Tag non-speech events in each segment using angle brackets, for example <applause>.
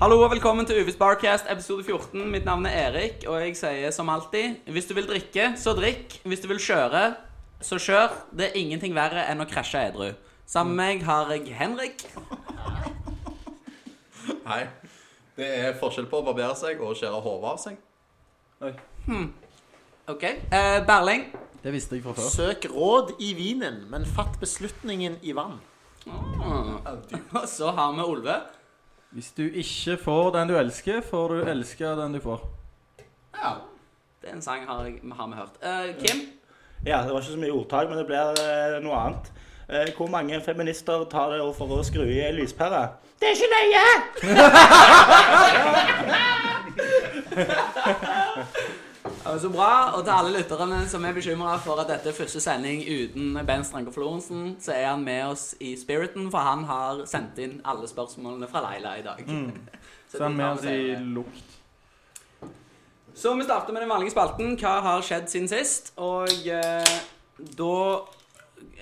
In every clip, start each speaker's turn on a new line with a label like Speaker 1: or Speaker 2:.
Speaker 1: Hallo og velkommen til Uvis Barcast episode 14. Mitt navn er Erik, og jeg sier som alltid Hvis du vil drikke, så drikk. Hvis du vil kjøre, så kjør. Det er ingenting verre enn å krasje edru. Sammen med meg har jeg Henrik.
Speaker 2: Hei. Det er forskjell på å barbere seg og å skjære hodet av seg.
Speaker 1: Hmm. OK. Eh, Berling.
Speaker 3: Det visste jeg fra før.
Speaker 4: Søk råd i vinen, men fatt beslutningen i vann.
Speaker 1: Ah. <laughs> Og så har vi Olve.
Speaker 3: Hvis du ikke får den du elsker, får du elske den du får.
Speaker 2: Ja.
Speaker 1: Det er en sang har, jeg, har vi hørt. Eh, Kim.
Speaker 5: Ja, det var ikke så mye ordtak, men det ble eh, noe annet. Eh, hvor mange feminister tar det for å skru i ei lyspære? Det er ikke nøye!
Speaker 1: Ja, Så bra. Og til alle lytterne som er bekymra for at dette er første sending uten Ben Stranker Florensen, så er han med oss i Spiriten, for han har sendt inn alle spørsmålene fra Leila i dag.
Speaker 3: Mm.
Speaker 1: <laughs>
Speaker 3: Så den med oss altså i
Speaker 1: Så
Speaker 3: lukt.
Speaker 1: Så vi starter med den vanlige spalten. Hva har skjedd siden sist? Og eh, da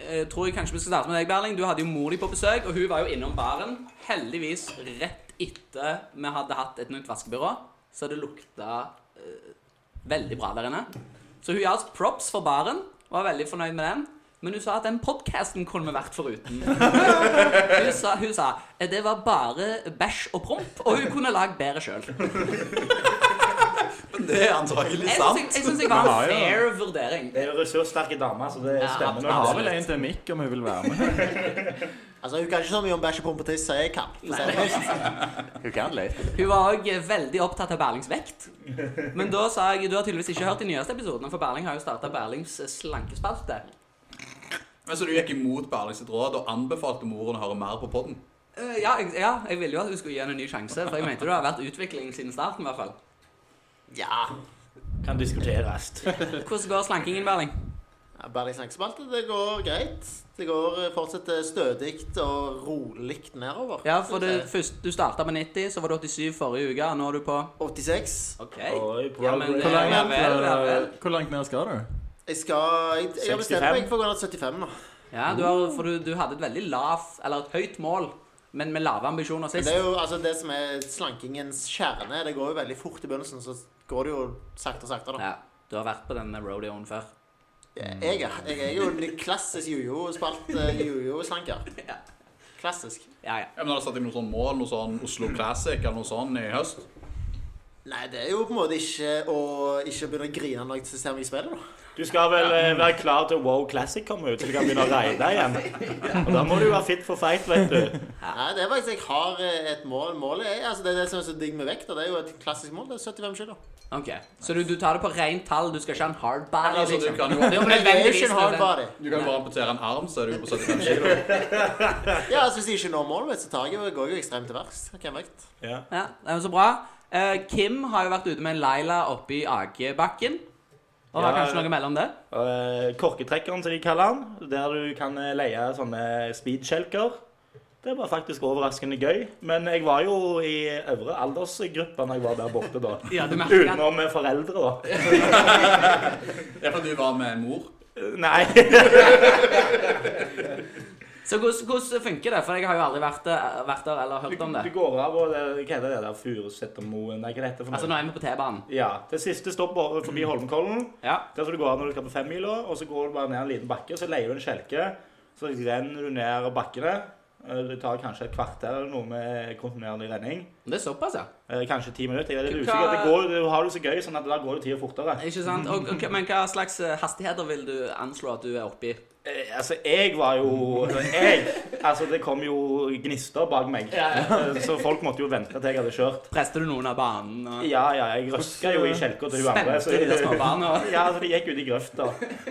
Speaker 1: eh, tror jeg kanskje vi skal starte med deg, Berling. Du hadde jo mor di på besøk, og hun var jo innom baren. Heldigvis rett etter vi hadde hatt et nytt vaskebyrå, så det lukta eh, veldig bra der inne. Så hun ga oss props for baren, og var veldig fornøyd med den. Men hun sa at den podcasten kunne vi vært foruten. hun, sa, hun sa eh, det var bare bæsj og promp, og hun kunne lagd bedre sjøl.
Speaker 2: Men det er antagelig
Speaker 1: Jeg
Speaker 2: sant.
Speaker 1: syns jeg var en
Speaker 3: Vi har
Speaker 1: fair vurdering.
Speaker 5: Det er jo ressurssterke damer, så det
Speaker 1: Ja,
Speaker 3: Vi
Speaker 5: stemmer nok.
Speaker 3: har vel en til Mikk om hun vil være med.
Speaker 4: Altså, Hun kan ikke så mye om bæsj og prompe tiss som jeg kan. for å si det sånn. mildt.
Speaker 2: <laughs> Hun kan litt.
Speaker 1: Hun var òg veldig opptatt av Berlings vekt. Men da sa jeg du har tydeligvis ikke hørt de nyeste episodene, for Berling har jo starta Berlings eh, slankespalte.
Speaker 2: Men så du gikk imot Berling sitt råd og anbefalte moren å høre mer på podden?
Speaker 1: Eh, ja, jeg, ja, jeg ville jo at hun skulle gi henne en ny sjanse, for jeg mente det har vært utvikling siden starten. i hvert fall.
Speaker 4: Ja.
Speaker 5: Kan diskuteres.
Speaker 1: Hvordan går slankingen, Berling?
Speaker 4: Berlings langspalte, det går greit. Det går eh, fortsatt eh, stødig og rolig nedover.
Speaker 1: Ja, for du, først, du starta med 90, så var du 87 forrige uke, og nå er du på
Speaker 4: 86.
Speaker 1: OK.
Speaker 5: Oi,
Speaker 1: Ja, men,
Speaker 5: progress.
Speaker 3: Hvor
Speaker 1: eh, ja
Speaker 3: langt,
Speaker 1: vel, ja vel.
Speaker 3: eh, Hvor langt ned skal du?
Speaker 4: Jeg skal Jeg, jeg har bestemt
Speaker 5: 65.
Speaker 4: meg for å gå ned til 75 nå.
Speaker 1: Ja, du har, for du, du hadde et veldig lav, eller et høyt mål, men med lave ambisjoner
Speaker 4: Men
Speaker 1: sist.
Speaker 4: det er jo altså det som er slankingens kjerne. Det går jo veldig fort i begynnelsen, så går det jo sakte og sakte. da.
Speaker 1: Ja, du har vært på denne rodeoen før.
Speaker 4: Jeg, er- jeg er jo en klassisk jojo-spalt eh, jojo-slanker. Klassisk.
Speaker 1: Ja, ja.
Speaker 2: Ja, men Hadde du satt deg noe sånn mål, noe sånn Oslo Classic eller noe sånn i høst?
Speaker 4: Nei, det er jo på en måte ikke å ikke begynne å grine når jeg ser meg i spillet, da.
Speaker 5: Du skal vel eh, være klar til Wow Classic kommer ut, så du kan begynne å reide igjen. Og da må du være fit for fight, vet du.
Speaker 4: Nei, det er faktisk Jeg har eh, et mål. Målet er altså det, er det som er så digg med vekt, og det er jo et klassisk mål. Det er 75 kilo.
Speaker 1: Ok, Så du, du tar det på rent tall? Du skal ikke ha en hard body?
Speaker 2: Eller, altså, du
Speaker 1: liksom.
Speaker 2: kan jo
Speaker 1: Det er jo
Speaker 4: Men det er jo
Speaker 1: nødvendigvis
Speaker 4: ikke en hard
Speaker 1: nødvendig.
Speaker 4: body.
Speaker 2: du kan jo bare amputere en arm, så er du på 75 kilo.
Speaker 4: Ja, altså Hvis jeg ikke når målet mitt, så tar jeg jo, går jeg jo ekstremt til verks. Hvem vekt?
Speaker 5: Ja.
Speaker 1: Ja, det er jo så bra. Eh, Kim har jo vært ute med Laila oppe i Akebakken. Og har
Speaker 5: Ja,
Speaker 1: kanskje noe mellom det?
Speaker 5: Og, eh, korketrekkeren, som de kaller den, der du kan eh, leie sånne speedskjelker. Det var faktisk overraskende gøy. Men jeg var jo i øvre aldersgruppe når jeg var der borte da.
Speaker 1: Ja, du merker at
Speaker 5: Utenom eh, foreldre, da.
Speaker 2: Det er fordi du var med en mor.
Speaker 1: <laughs>
Speaker 5: Nei.
Speaker 1: Så hvordan, hvordan funker det? For jeg har jo aldri vært, der- vært der eller hørt om
Speaker 5: Du
Speaker 1: det.
Speaker 5: går av og det, Hva heter det der Furusettermoen? Nei, hva heter det for noe?
Speaker 1: Altså, nå er vi på T-banen.
Speaker 5: Ja. Det siste stopper forbi Holmenkollen.
Speaker 1: Ja.
Speaker 5: Der skal du gå av når du skal på femmila, og så går du bare ned en liten bakke, så leier du en kjelke. Så renner du ned bakkene. Eh, Det tar kanskje et kvarter eller noe med kontinuerlig renning.
Speaker 1: Det er såpass, ja.
Speaker 5: Eh, Kanskje ti minutter. Jeg er litt
Speaker 1: Hva-
Speaker 5: usikker. Det går, du har det så gøy, sånn at da går det tida fortere.
Speaker 1: Ikke sant? Og, ok, men hva slags eh, hastigheter vil du anslå at du er oppe i?
Speaker 5: Eh, Altså, jeg var jo Jeg! Altså, det kom jo gnister bak meg. Eh, Så folk måtte jo vente til jeg hadde kjørt.
Speaker 1: Prester du noen av banen? <laughs> Og...
Speaker 5: Ja, ja, jeg røska jo i kjelka til hun andre.
Speaker 1: Spente de der småbarna? og-
Speaker 5: <laughs> Ja, altså de gikk ut i grøfta.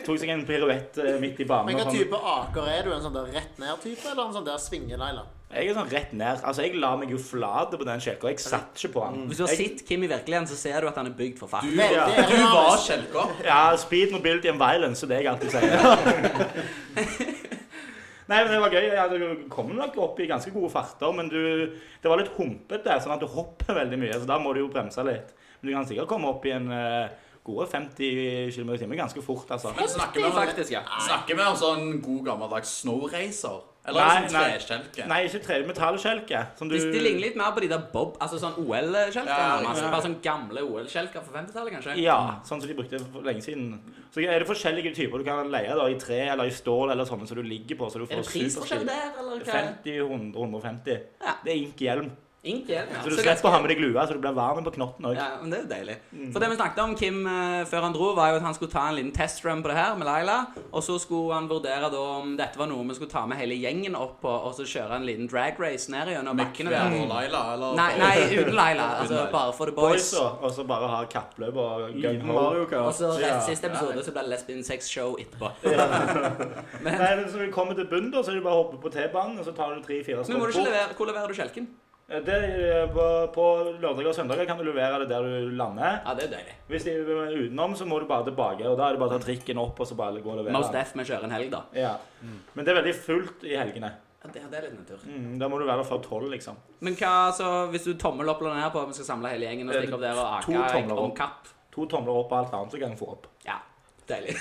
Speaker 5: Tok seg en piruett eh, midt i banen.
Speaker 4: Men
Speaker 5: og
Speaker 4: hva
Speaker 5: sånn.
Speaker 4: type aker er du? En sånn der rett ned-type, eller en sånn der svinge-Laila?
Speaker 5: Jeg er sånn rett ned. Altså, jeg la meg jo flat på den kjelka.
Speaker 4: Altså,
Speaker 5: Jeg satt ikke på den.
Speaker 1: Hvis du har
Speaker 5: Jeg-
Speaker 1: sett Kim i virkeligheten, så ser du at han er bygd for fart.
Speaker 2: Du,
Speaker 4: Veldig
Speaker 2: du var
Speaker 4: aerodynamisk.
Speaker 2: kjelka.
Speaker 5: Ja, speed, mobility and violence, så det er jeg alltid sier.
Speaker 1: <laughs>
Speaker 5: Nei, men det var gøy. Ja, du kom nok opp i ganske gode farter, men du, det var litt humpete, sånn at du hopper veldig mye, så da må du jo bremse litt. Men du kan sikkert komme opp i en eh, gode 50 km i timen ganske fort, altså.
Speaker 2: Men snakker vi om,
Speaker 1: faktisk, ja.
Speaker 2: snakker vi om sånn god gammeldags snowracer? Eller er det sånn
Speaker 5: Nei, nei.
Speaker 2: treskjelke?
Speaker 5: Nei, ikke tre metallskjelke. Som du
Speaker 1: Hvis de ligner litt mer på de der Bob, altså sånn OL-skjelker.
Speaker 2: Ja,
Speaker 1: nærmest.
Speaker 2: ja.
Speaker 1: Bare sånn gamle OL-skjelker fra 50-tallet, kanskje.
Speaker 5: Ja, sånn som de brukte for lenge siden. Så er det forskjellige typer du kan leie da, i tre eller i stål eller sånne som du ligger på. Så du
Speaker 1: Er
Speaker 5: får
Speaker 1: det prisforskjell
Speaker 5: superstil.
Speaker 1: der, eller hva?
Speaker 5: 50, 100, 150.
Speaker 1: Ja.
Speaker 5: Det er inkhjelm.
Speaker 1: Ink igjen, ja.
Speaker 5: Så du
Speaker 1: Så
Speaker 5: slipper å
Speaker 1: ganske-
Speaker 5: ha med deg lue, så du blir varm på knotten òg.
Speaker 1: Ja, men det er jo deilig. For det vi snakket om, Kim, eh, før han dro, var jo at han skulle ta en liten testrun på det her med Laila. Og så skulle han vurdere da om dette var noe vi skulle ta med hele gjengen opp på, og så kjøre en liten drag race ned gjennom bakkene der.
Speaker 2: Eller Laila, eller
Speaker 1: Mm. Nei, nei, uten Laila. Altså
Speaker 2: Laila.
Speaker 1: bare for the
Speaker 5: Boys,
Speaker 1: boys.
Speaker 5: da, og så bare ha kappløp og
Speaker 3: Liten
Speaker 5: gung-ho.
Speaker 3: Mario
Speaker 1: Og
Speaker 3: Kart.
Speaker 1: så
Speaker 5: Ja.
Speaker 1: rett siste episode så ble det lesbian sex show etterpå.
Speaker 5: Nei, men så når du kommer til bunnen, da, så er det bare å hoppe på T-banen, og så tar du
Speaker 1: Men
Speaker 5: tre-fire
Speaker 1: må du ikke
Speaker 5: stolper.
Speaker 1: levere, hvor leverer du skjelken?
Speaker 5: Det er På, på lørdager og søndager kan du levere det der du lander.
Speaker 1: Ja, det er jo deilig.
Speaker 5: Hvis de er utenom, så må du bare tilbake, og da er det bare å ta trikken opp, og så bare gå og levere.
Speaker 1: Most Deaf vi kjører en helg, da.
Speaker 5: Ja. Men det er veldig fullt i helgene.
Speaker 1: Ja, det, det er litt nedtur.
Speaker 5: Mm, da må du være der før tolv, liksom.
Speaker 1: Men hva så, hvis du tommel opp eller ned på at vi skal samle hele gjengen og stikke opp der og
Speaker 5: To
Speaker 1: ake
Speaker 5: tomler
Speaker 1: om
Speaker 5: opp.
Speaker 1: kapp?
Speaker 5: To tomler opp og alt annet du kan få opp.
Speaker 1: Ja, deilig.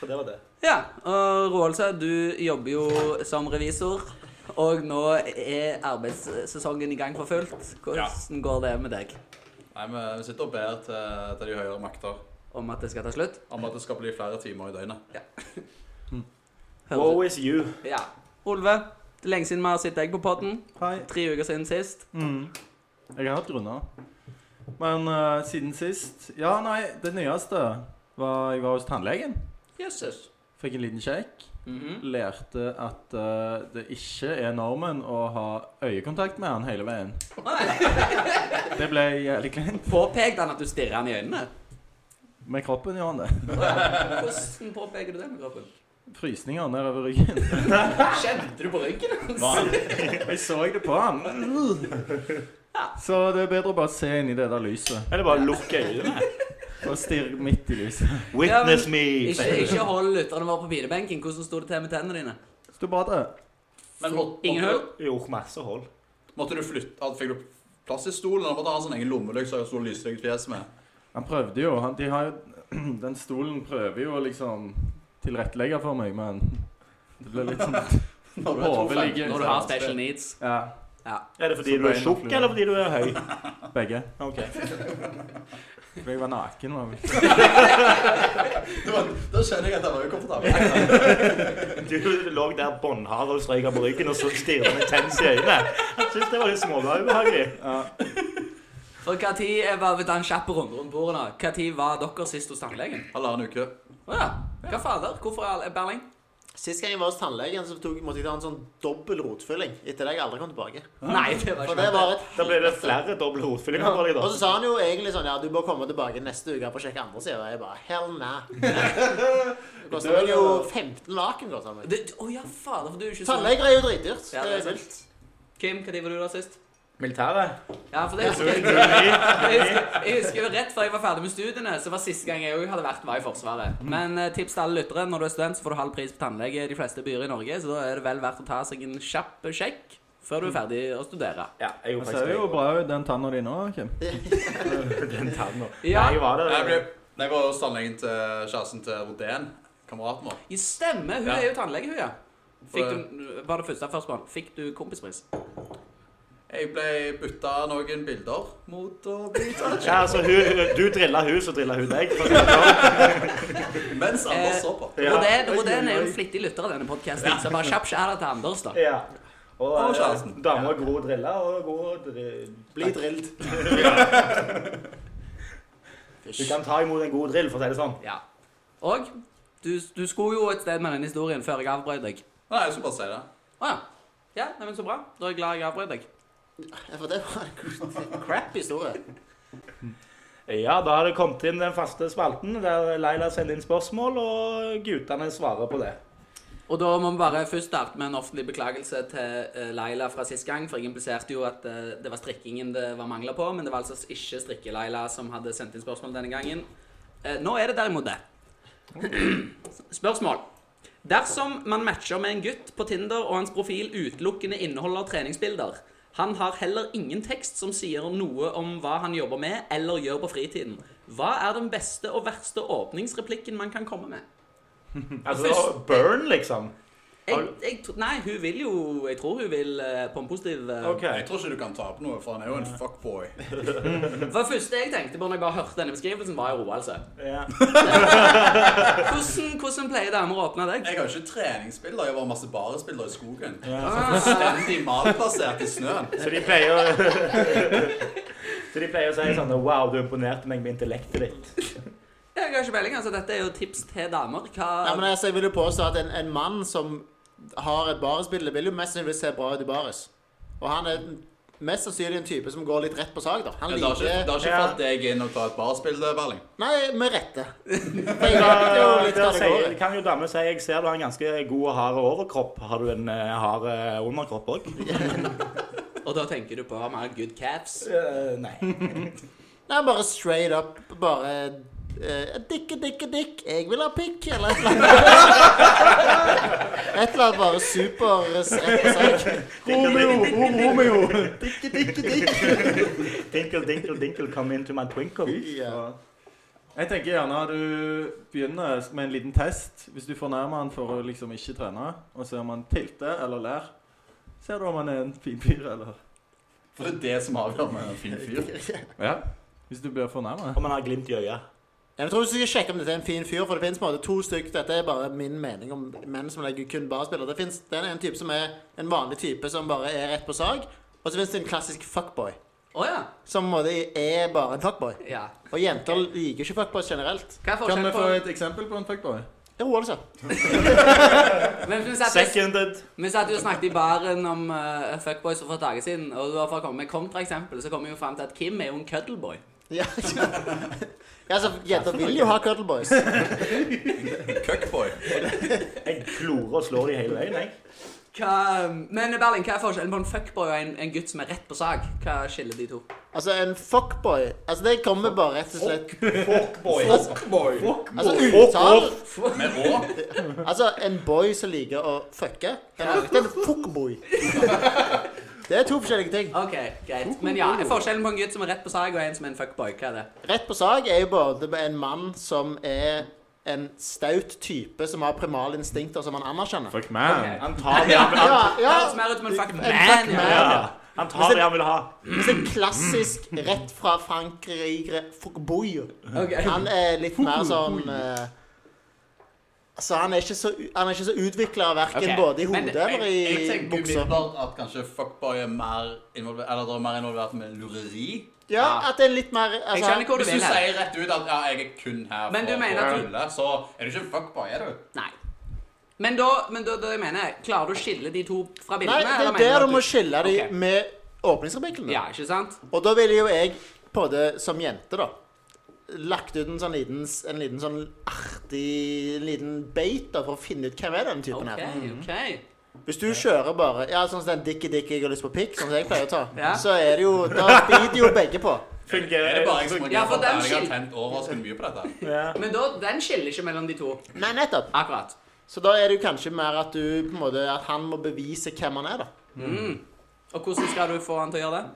Speaker 5: Så det var det.
Speaker 1: Ja, og Roaldse, du jobber jo som revisor. Og nå er arbeidssesongen i gang for fullt. Hvordan går det med deg?
Speaker 2: Nei, vi sitter og ber til, til de høyere makter
Speaker 1: Om at det skal ta slutt?
Speaker 2: om at det skal bli flere timer i døgnet.
Speaker 5: Woe
Speaker 1: Hører du?
Speaker 5: is you.
Speaker 1: Ja. Olve, det er lenge siden vi har sett deg på podden.
Speaker 3: Hei.
Speaker 1: Tre uker siden sist.
Speaker 3: Mm. Jeg har hatt grunner. Men eh, siden sist Ja, nei, det nyeste var jeg var hos tannlegen.
Speaker 1: Jøsses.
Speaker 3: Fikk en liten sjekk.
Speaker 1: Mhm.
Speaker 3: Lærte at eh, det ikke er normen å ha øyekontakt med han hele veien. Det ble jævlig kleint.
Speaker 1: Påpekte han at du stirrer han i øynene?
Speaker 3: Med kroppen gjør han det.
Speaker 1: Hvordan påpeker du det med kroppen?
Speaker 3: Frysninger nedover ryggen. <laughs>
Speaker 1: Kjente du på ryggen hans?
Speaker 3: Jeg så det på han. Så det er bedre å bare se inn i det der lyset.
Speaker 5: Eller bare lukk
Speaker 1: <laughs>
Speaker 5: øynene.
Speaker 3: Bare stirre midt i lyset.
Speaker 5: Witness me.
Speaker 1: Ikke, ikke hold lytterne våre på pinebenken. Hvordan sto det til med tennene dine?
Speaker 3: Stå bra til.
Speaker 2: Men må,
Speaker 1: Ingen hull?
Speaker 2: måtte,
Speaker 5: Jo, masse hold.
Speaker 2: måtte du flytte at, Fikk du plass i stolen? Eller måtte du ha en sånn egen lommelykt som så lysløkt fjes med?
Speaker 3: Han prøvde jo. Han, de har jo <clears throat> den stolen prøver jo å liksom tilrettelegge for meg, men det ble litt sånn
Speaker 2: Når du
Speaker 3: Håper
Speaker 2: er 2,15,
Speaker 3: ligger-
Speaker 1: Når du har special needs.
Speaker 3: Ja,
Speaker 5: Er det
Speaker 3: Så
Speaker 5: fordi du er
Speaker 3: beina
Speaker 5: tjukk,
Speaker 3: flyr.
Speaker 5: eller fordi du er høy? <laughs>
Speaker 3: begge.
Speaker 5: Ok.
Speaker 3: For jeg var naken. Var jeg.
Speaker 2: Det var- Da kjenner jeg at jeg var ukomfortabel.
Speaker 5: Du lå der båndhard og strøyka på ryggen, og så stirra med tens i øynene. Jeg synes det var litt småubehagelig.
Speaker 1: For hva tid er bare den kjappe runden rundt bordet nå? Hva tid var dere sist hos tannlegen?
Speaker 2: Halvannen uke.
Speaker 1: Å ja. Hva fader? Hvorfor er er Berling?
Speaker 4: Sist gang jeg var hos tannlegen, så tok, måtte jeg ta en sånn dobbel rotfylling. Etter det jeg aldri kom tilbake.
Speaker 1: Nei, det var
Speaker 4: For
Speaker 1: ikke
Speaker 4: det var et
Speaker 5: Da ble det flere doble hodefyllinger for deg,
Speaker 4: Og så
Speaker 5: da.
Speaker 4: sa han jo egentlig sånn Ja, du bør komme tilbake neste uke for å sjekke andre sida. Og jeg bare Hell nei. Det koster meg jo 15 laken. koster det meg.
Speaker 1: Det- Å ja, fader, for du er ikke så
Speaker 4: Tannleger er jo dritdyrt.
Speaker 1: Ja,
Speaker 4: Det
Speaker 1: det er
Speaker 4: er
Speaker 1: sant.
Speaker 4: vilt.
Speaker 1: Kim, hva tid var du der sist?
Speaker 5: Militæret.
Speaker 1: Ja, for det husker jeg. Jeg husker, jeg husker jo rett før jeg var ferdig med studiene, så var siste gang jeg også hadde vært, var i Forsvaret. Men eh, tips til alle lyttere. Når du er student, så får du halv pris på tannlege i de fleste byer i Norge, så da er det vel verdt å ta seg en kjapp sjekk før du er ferdig å studere.
Speaker 5: Ja,
Speaker 3: Han
Speaker 5: jeg gjorde
Speaker 3: ser jo
Speaker 5: faktisk
Speaker 3: bra ut, den tanna di nå, Kim.
Speaker 5: det. Den tanna.
Speaker 1: Ja.
Speaker 5: Nei, jeg var
Speaker 2: Jeg,
Speaker 5: der.
Speaker 2: ble, jeg var hos tannlegen til kjæresten til Rodén, kameraten vår.
Speaker 1: Ja, Stemmer, hun
Speaker 2: Ja.
Speaker 1: er jo tannlege, hun, ja. Fikk
Speaker 2: For-
Speaker 1: du, var det første førstemann? Fikk du kompispris?
Speaker 2: Jeg ble bytta noen bilder mot å bli
Speaker 5: <laughs> Ja, altså, hun, du drilla hun, så drilla hun deg. for å si det sånn.
Speaker 2: Mens
Speaker 1: Eh,
Speaker 2: Anders så på.
Speaker 5: Ja.
Speaker 1: Rodén Rodén er jo en flittig lytter av denne podkasten, så bare kjapp skjæra til Anders, da.
Speaker 5: Ja. Og,
Speaker 2: Og
Speaker 5: eh,
Speaker 2: kjæresten.
Speaker 5: dama er god å drille og god å dri...
Speaker 4: Bli drillet.
Speaker 5: Du kan ta imot en god drill, for å si det sånn.
Speaker 1: Ja. Og du, du skulle jo et sted med den historien før jeg avbrøt deg.
Speaker 2: Nei, jeg skulle bare si det.
Speaker 1: Å ja. Ja, nei, men Så bra. Da er jeg glad jeg avbrøt deg.
Speaker 4: Ja, For det var en crap historie.
Speaker 5: Ja, da har det kommet inn den faste spalten der Leila sender inn spørsmål, og guttene svarer på det.
Speaker 1: Og da må vi bare først starte med en offentlig beklagelse til eh, Laila fra sist gang. For jeg impliserte jo at eh, det var strikkingen det var mangler på, men det var altså ikke strikke-Laila som hadde sendt inn spørsmål denne gangen. Eh, nå er det derimot det. <clears throat> spørsmål. Dersom man matcher med en gutt på Tinder, og hans profil utelukkende inneholder treningsbilder Han har heller ingen tekst som sier noe om hva han jobber med eller gjør på fritiden. Hva er den beste og verste åpningsreplikken man kan komme med?
Speaker 5: Altså, burn, liksom.
Speaker 1: jeg, jeg, tro- nei, hun vil jo Jeg tror hun vil eh, på en positiv eh,
Speaker 5: OK.
Speaker 2: Jeg tror ikke du kan tape noe, for han er jo en fuckboy.
Speaker 1: For det første jeg tenkte på når jeg bare hørte denne beskrivelsen, var jo roelse.
Speaker 5: Ja.
Speaker 1: Hvordan, hvordan pleier damer å åpne deg?
Speaker 2: Jeg har ikke treningsbilder, jeg var masse barespiller i skogen.
Speaker 1: Ah,
Speaker 2: Fullstendig malplassert i snøen.
Speaker 5: Så de pleier <laughs> å Så de pleier å si sånn Wow, du imponerte meg med intellektet ditt.
Speaker 1: jeg har ikke peiling. Altså, dette er jo tips til damer.
Speaker 4: Nei, men
Speaker 1: Hva
Speaker 4: altså, jeg vil jo påstå at en, en mann som har et baresbilde, vil jo mest sannsynlig se bra ut i bares. Og han er mest sannsynlig en type som går litt rett på sak, da. Han
Speaker 2: Men Det har
Speaker 4: liker
Speaker 2: ikke, det har ikke falt deg inn å ta et barsbilde, Berling.
Speaker 4: Nei, med rette. For jeg vet jo litt hva det går
Speaker 5: Der sier,
Speaker 4: i.
Speaker 5: kan jo damer si Jeg ser du har en ganske god og hard overkropp. Har du en eh, hard eh, underkropp òg?
Speaker 1: Og da tenker du på mer good caps.
Speaker 5: Eh, nei.
Speaker 4: Nei, bare straight up, bare eh, Dikke, dikke, dikk, jeg vil ha pikk, eller et eller annet. <laughs> Et eller annet bare super rett på sak.
Speaker 1: Oh,
Speaker 5: Romeo,
Speaker 3: Romeo!
Speaker 5: Dikke, dikke, dikke. Dinkle, dinkle, dinkle, come into my twinkle.
Speaker 4: Ja.
Speaker 3: Jeg tenker gjerne at du begynner med en liten test. Hvis du fornærmer han for å liksom ikke trene, og ser om han tilter eller ler, ser du om han er en fin fyr eller
Speaker 2: For det er det som avgjør om jeg er en fin fyr.
Speaker 3: Ja. Hvis du blir fornærma.
Speaker 5: Om han har glimt i øyet.
Speaker 4: Jeg tror du skal sjekke om dette er en fin fyr, for det finnes på en måte to stykker. Dette er bare min mening om menn som legger kun barspiller. Det finnes den er en type som er en vanlig type som bare er rett på sag, og så finnes det en klassisk fuckboy,
Speaker 1: Å ja.
Speaker 4: som på en måte er bare en fuckboy.
Speaker 1: ja.
Speaker 4: Og jenter liker ikke fuckboys generelt.
Speaker 1: Hva er
Speaker 3: Kan vi
Speaker 1: forskjellen på
Speaker 3: få et eksempel på en fuckboy?
Speaker 4: Det er hun altså.
Speaker 1: Men vi satt,
Speaker 5: Seconded.
Speaker 1: vi satt jo og snakket i baren om eh, fuckboys for et dager siden, og det var for å komme med kontraeksempel, så kom vi jo fram til at Kim er jo en cuddleboy.
Speaker 4: Ja, <laughs> Ja, så jenter vil jo ha cuddleboys.
Speaker 2: Cuckboy.
Speaker 5: Jeg klorer og slår de hele veien, jeg.
Speaker 1: Hva, men Berling, hva er forskjellen på en fuckboy og en, en gutt som er rett på sak? Hva skiller de to?
Speaker 4: Altså, en fuckboy Altså, det kommer bare rett og slett
Speaker 5: Fuckboy.
Speaker 2: Fuckboy.
Speaker 4: Altså, uttal
Speaker 2: Men òg
Speaker 4: Altså, en boy som liker å fucke, det er det en fuckboy. Det er to forskjellige ting.
Speaker 1: Ok, greit. Men ja, er forskjellen på en gutt som er rett på sak, og en som er en fuckboy, hva er det?
Speaker 4: Rett på sak er jo både en mann som er en staut type som har primale instinkter som han anerkjenner.
Speaker 3: Fuck man.
Speaker 1: Ok.
Speaker 5: Han tar det han vil ha.
Speaker 4: Ja,
Speaker 1: Det
Speaker 4: ja.
Speaker 1: høres mer ut som en
Speaker 4: fuck
Speaker 1: fuckman.
Speaker 4: man,
Speaker 1: Ja.
Speaker 5: Ja. Han tar det han vil ha.
Speaker 4: Hvis en klassisk rett fra Frankrike fuckboy
Speaker 1: Ok.
Speaker 4: Han er litt mer sånn eh, Altså, han er ikke så, han er ikke så utvikla verken
Speaker 1: Ok,
Speaker 4: både i
Speaker 1: men
Speaker 4: hodet eller
Speaker 2: Jeg
Speaker 4: i
Speaker 2: tenker
Speaker 4: buksa.
Speaker 2: umiddelbart at kanskje fuckboy er mer involvert, eller det er mer involvert med lureri.
Speaker 4: Ja, at det er litt mer
Speaker 1: Jeg
Speaker 4: altså,
Speaker 1: skjønner hvor du
Speaker 2: Hvis du
Speaker 1: vil her.
Speaker 2: sier rett ut at ja, jeg er kun her
Speaker 1: Men du
Speaker 2: for
Speaker 1: mener
Speaker 2: å
Speaker 1: at du-
Speaker 2: knulle, så er du ikke en fuckboy, er du?
Speaker 1: Nei. Men da, men da, da jeg mener jeg, klarer du å skille de to fra
Speaker 4: Nei,
Speaker 1: bildene?
Speaker 4: det
Speaker 1: eller
Speaker 4: er
Speaker 1: mener
Speaker 4: der
Speaker 1: at
Speaker 4: du må skille de
Speaker 1: Ok.
Speaker 4: med åpningsreplikkene.
Speaker 1: Ja, ikke sant?
Speaker 4: Og da ville jo jeg, på det som jente, da Lagt ut en sånn liten, en liten sånn artig liten bait da, for å finne ut hvem er den typen
Speaker 1: Ok,
Speaker 4: her.
Speaker 1: ok.
Speaker 4: Hvis du kjører bare ja, sånn som den dikki dikki jeg har lyst på pikk, sånn som jeg pleier å ta,
Speaker 1: Ja.
Speaker 4: så er det jo Da biter jo begge på.
Speaker 2: Er det
Speaker 5: Fungerer.
Speaker 2: bare jeg som
Speaker 1: Ja, for
Speaker 2: har
Speaker 1: den
Speaker 2: jeg har
Speaker 1: skil-
Speaker 2: tent overraskende mye på
Speaker 1: <laughs>
Speaker 2: dette?
Speaker 5: Ja.
Speaker 1: Men da, den skiller ikke mellom de to.
Speaker 4: Nei, nettopp.
Speaker 1: Akkurat.
Speaker 4: Så da er det jo kanskje mer at du på en måte At han må bevise hvem han er, da.
Speaker 1: Og hvordan skal du få han til å gjøre det?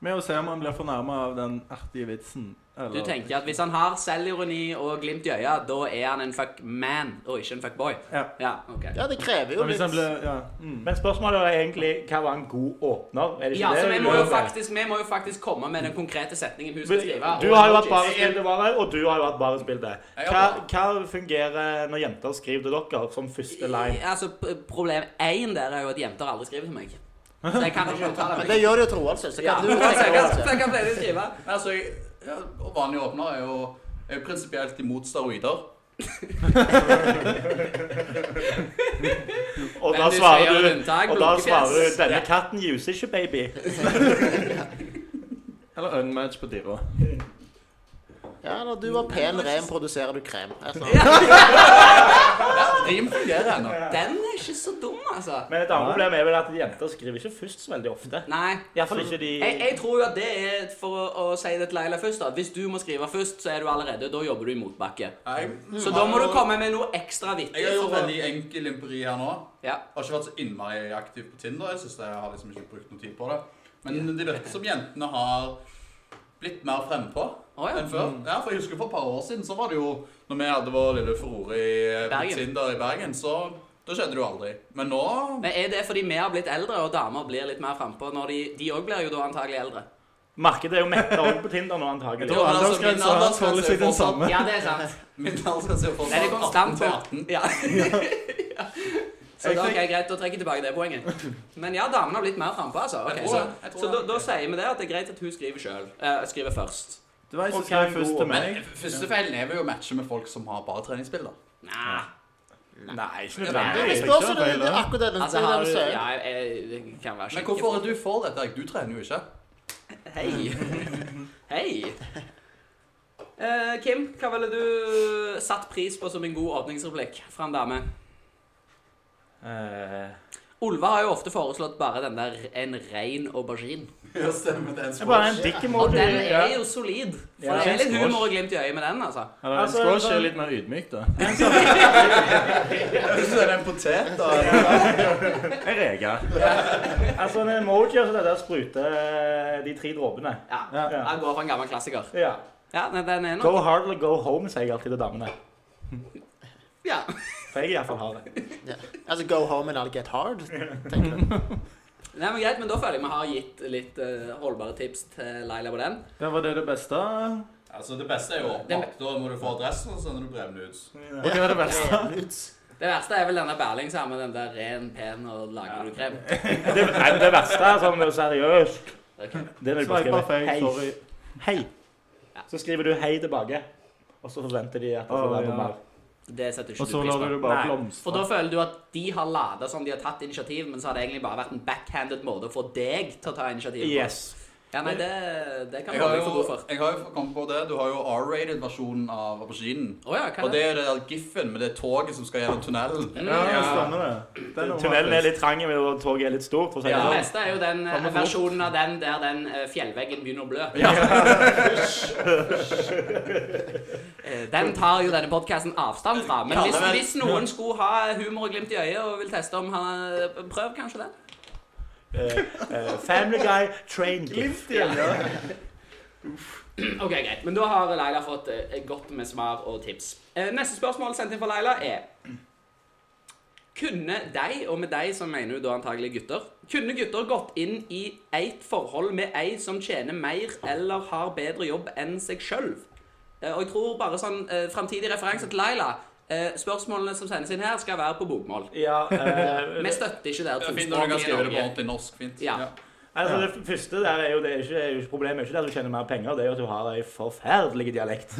Speaker 3: Med å se om han blir fornærma av den artige vitsen.
Speaker 1: Du tenker at hvis han har selvironi og glimt i øya, da er han en fuckman og ikke en fuckboy?
Speaker 3: Ja.
Speaker 1: Ja, ok.
Speaker 4: Ja, det krever jo
Speaker 3: Men hvis han
Speaker 4: litt
Speaker 3: blir Ja. Mm.
Speaker 5: Men spørsmålet er egentlig hva var en god åpner? Er det ikke
Speaker 1: Ja,
Speaker 5: det?
Speaker 1: så vi må,
Speaker 5: du
Speaker 1: jo
Speaker 5: lurer på?
Speaker 1: faktisk, vi må jo faktisk komme med den konkrete setningen hun skal skrive.
Speaker 5: Du har jo vært
Speaker 1: Emojis.
Speaker 5: barespildevare, og du har jo vært barespilde.
Speaker 2: Jeg
Speaker 5: Hva,
Speaker 2: har
Speaker 5: hva fungerer når jenter skriver til dere som første line?
Speaker 1: Altså, p- Problem én der er jo at jenter aldri skriver til meg. Så jeg kan ikke uttale meg.
Speaker 4: Men det gjør <laughs> det jo Troald, så
Speaker 1: Ja,
Speaker 4: kan
Speaker 1: så
Speaker 4: du
Speaker 1: jeg kan- så jeg kan pleie å skrive.
Speaker 2: Nei, Altså, jeg, ja, og vanlig åpner er jo jeg er jo prinsipielt imot steroider.
Speaker 5: Og
Speaker 1: Men
Speaker 5: da
Speaker 1: du
Speaker 5: svarer
Speaker 1: sier
Speaker 5: du,
Speaker 1: unntak,
Speaker 5: og da
Speaker 1: blunkefjes.
Speaker 5: svarer du
Speaker 1: <laughs>
Speaker 5: 'Denne
Speaker 1: Ja.
Speaker 5: katten juser ikke, baby'.
Speaker 3: Eller unmatch på Diro.
Speaker 4: Ja, når du var pen rem, produserer du krem. Et eller annet.
Speaker 2: Rim fungerer ennå.
Speaker 1: Den er ikke så dum, altså.
Speaker 5: Men et annet problem er vel at jenter skriver ikke først så veldig ofte.
Speaker 1: Nei.
Speaker 5: Iallfall ikke de
Speaker 1: Jeg, jeg tror jo at det er for å, å si det til Laila først, da. at hvis du må skrive først, så er du allerede Da jobber du i motbakke.
Speaker 2: Jeg-
Speaker 1: Så da må du komme med noe ekstra vittig.
Speaker 2: Jeg har gjort
Speaker 1: for å-
Speaker 2: veldig enkel empiri her nå.
Speaker 1: Ja.
Speaker 2: Jeg har ikke vært så innmari aktiv på Tinder. Jeg synes jeg har liksom ikke brukt noe tid på det. Men det virker som jentene har blitt mer frempå
Speaker 1: Å, ja.
Speaker 2: enn før. Ja, Mm. for jeg husker For et par år siden så var det jo Når vi hadde vår lille furore i, på
Speaker 1: Bergen.
Speaker 2: Tinder i Bergen, så Da skjedde det jo aldri. Men nå
Speaker 1: Men er det fordi vi har blitt eldre, og damer blir litt mer frampå når de De òg blir jo da antagelig eldre?
Speaker 5: Markedet er jo metta òg på Tinder nå,
Speaker 3: Jeg
Speaker 5: antagelig.
Speaker 3: tror
Speaker 2: Ja, men altså,
Speaker 3: aldersgrensa
Speaker 2: min
Speaker 3: hans holder seg den
Speaker 2: aldersgrense er
Speaker 3: samme.
Speaker 1: Ja, det er sant.
Speaker 2: <laughs> Min aldersgrense er
Speaker 1: Det er det
Speaker 2: fortsatt 18
Speaker 1: konstant.
Speaker 2: til 18. <laughs>
Speaker 1: Ja. Så
Speaker 3: Jeg
Speaker 1: da
Speaker 3: tenker-
Speaker 1: ok, greit, da trekker jeg tilbake det poenget. Men ja, damene har blitt mer frampå, altså. Ok,
Speaker 2: Jeg tror
Speaker 1: så
Speaker 2: det. Jeg tror
Speaker 1: så da,
Speaker 2: det.
Speaker 1: da sier vi det at det er greit at hun skriver selv. Eh, skriver først.
Speaker 3: Det var jeg som
Speaker 5: Ok,
Speaker 3: skrev først
Speaker 5: god.
Speaker 3: til meg.
Speaker 2: Men første feilen er vel å matche med folk som har bare treningsbilder.
Speaker 1: Nei.
Speaker 5: Nei, ikke
Speaker 4: Jeg
Speaker 5: nødvendigvis.
Speaker 3: ikke
Speaker 4: spørs jo
Speaker 3: så
Speaker 4: det,
Speaker 3: feil,
Speaker 4: det er
Speaker 3: da.
Speaker 4: akkurat det den
Speaker 1: Altså,
Speaker 4: det
Speaker 1: har
Speaker 4: den
Speaker 1: du
Speaker 4: sier.
Speaker 1: Ja, jeg, jeg det kan være
Speaker 2: Men
Speaker 1: skikkelig-
Speaker 2: hvorfor er du for dette? Erik? Du trener jo ikke. <laughs>
Speaker 1: Hei. Hei. Eh, Kim, hva ville du satt pris på som en god åpningsreplikk fra en dame?
Speaker 5: Eh,
Speaker 1: Olva har jo ofte foreslått bare den der en rein aubergine.
Speaker 2: Ja, stemmer det.
Speaker 5: Det er bare en dick
Speaker 1: Og
Speaker 5: emoji.
Speaker 1: den
Speaker 5: Ja.
Speaker 1: er jo solid. For
Speaker 5: Ja.
Speaker 1: det er litt humor og glimt i øyet med den, altså.
Speaker 3: Eller en
Speaker 5: Altså,
Speaker 3: squash
Speaker 5: sånn-
Speaker 3: er litt mer ydmyk, da.
Speaker 2: Hvis du er en potet, da <laughs>
Speaker 3: Jeg reker.
Speaker 5: Altså en emoji og så det der sprute eh, de tre dråpene.
Speaker 1: Ja.
Speaker 5: Ja.
Speaker 1: Han går for en gammel klassiker.
Speaker 5: Ja.
Speaker 1: Ja, nei, den er
Speaker 5: Go
Speaker 1: nok
Speaker 5: hard eller go home, sier jeg alltid til damene.
Speaker 1: ja.
Speaker 5: For jeg i hvert fall har det.
Speaker 4: Ja. Altså, go home and I'll get hard. tenker jeg.
Speaker 1: Nei, men Greit, men da føler jeg vi har gitt litt eh, holdbare tips til Laila på den.
Speaker 3: Ja, var det det beste? Og
Speaker 2: Altså, det beste er jo oppmakt. Da må du få adressen, og så sender du brevene ut.
Speaker 3: det var det beste?
Speaker 1: Det verste er vel denne Berling som har med den der ren, pen og lager du krem.
Speaker 5: Det, nei, men det verste er sånn det er seriøst.
Speaker 1: <laughs> Ok.
Speaker 5: Det vil jeg bare
Speaker 3: Sveipa
Speaker 5: skrive.
Speaker 3: feil, sorry.
Speaker 5: Hei. hei. Så skriver du hei tilbake, og så forventer de at det skal
Speaker 3: Å,
Speaker 5: være
Speaker 3: ja.
Speaker 5: noe mer.
Speaker 1: Det setter ikke
Speaker 3: Og så
Speaker 1: du pris
Speaker 3: lar
Speaker 1: på.
Speaker 3: du det bare
Speaker 5: Nei.
Speaker 1: For da
Speaker 3: blomstre.
Speaker 1: føler du at de har lada som de har tatt initiativ, men så har det egentlig bare vært en backhanded måte å få deg til å ta initiativ på.
Speaker 5: Yes.
Speaker 1: Ja, nei, det, det kan
Speaker 2: Jeg
Speaker 1: man
Speaker 2: har
Speaker 1: bli for
Speaker 2: jo,
Speaker 1: god for.
Speaker 2: jeg har jo kommet på det. Du har jo R-rated-versjonen av auberginen.
Speaker 1: Å ja, hva
Speaker 2: Og det er det der giffen med det toget som skal gjennom tunnelen.
Speaker 3: Ja, stemmer det. Den er
Speaker 5: Tunnelen er
Speaker 3: romantisk.
Speaker 5: litt trang, og toget er litt stort. For å si
Speaker 1: Det
Speaker 5: det sånn.
Speaker 1: beste er jo den eh,
Speaker 3: Kommer fort.
Speaker 1: versjonen av den der den eh, fjellveggen begynner å blø. <laughs> Eh, Den tar jo denne podkasten avstand fra. Men
Speaker 2: Ja,
Speaker 1: hvis,
Speaker 2: men-
Speaker 1: hvis noen skulle ha humor og glimt i øyet og vil teste om han Prøv kanskje den.
Speaker 5: Eh, eh, family guy, train gift.
Speaker 1: Ok, greit. Men da har Leila fått eh, godt med svar og tips. Eh, neste spørsmål sendt inn fra Leila er Kunne de, og med de som mener hun da antagelig gutter, kunne gutter gått inn i eit forhold med ei som tjener mer eller har bedre jobb enn seg sjøl? Eh, og jeg tror bare sånn eh, framtidig referanse til Leila eh, Spørsmålene som sendes inn her, skal være på bokmål.
Speaker 5: Ja, <laughs> eh,
Speaker 1: Vi støtter ikke der
Speaker 2: Det er fint når du kan
Speaker 1: tospråklige
Speaker 2: skrive det på
Speaker 1: Norge.
Speaker 2: ordentlig norsk. Fint.
Speaker 1: Ja.
Speaker 5: Altså, det f- første der er jo, det er ikke, er jo ikke problemet er ikke det at du tjener mer penger, det er jo at du har ei forferdelig <laughs> dialekt.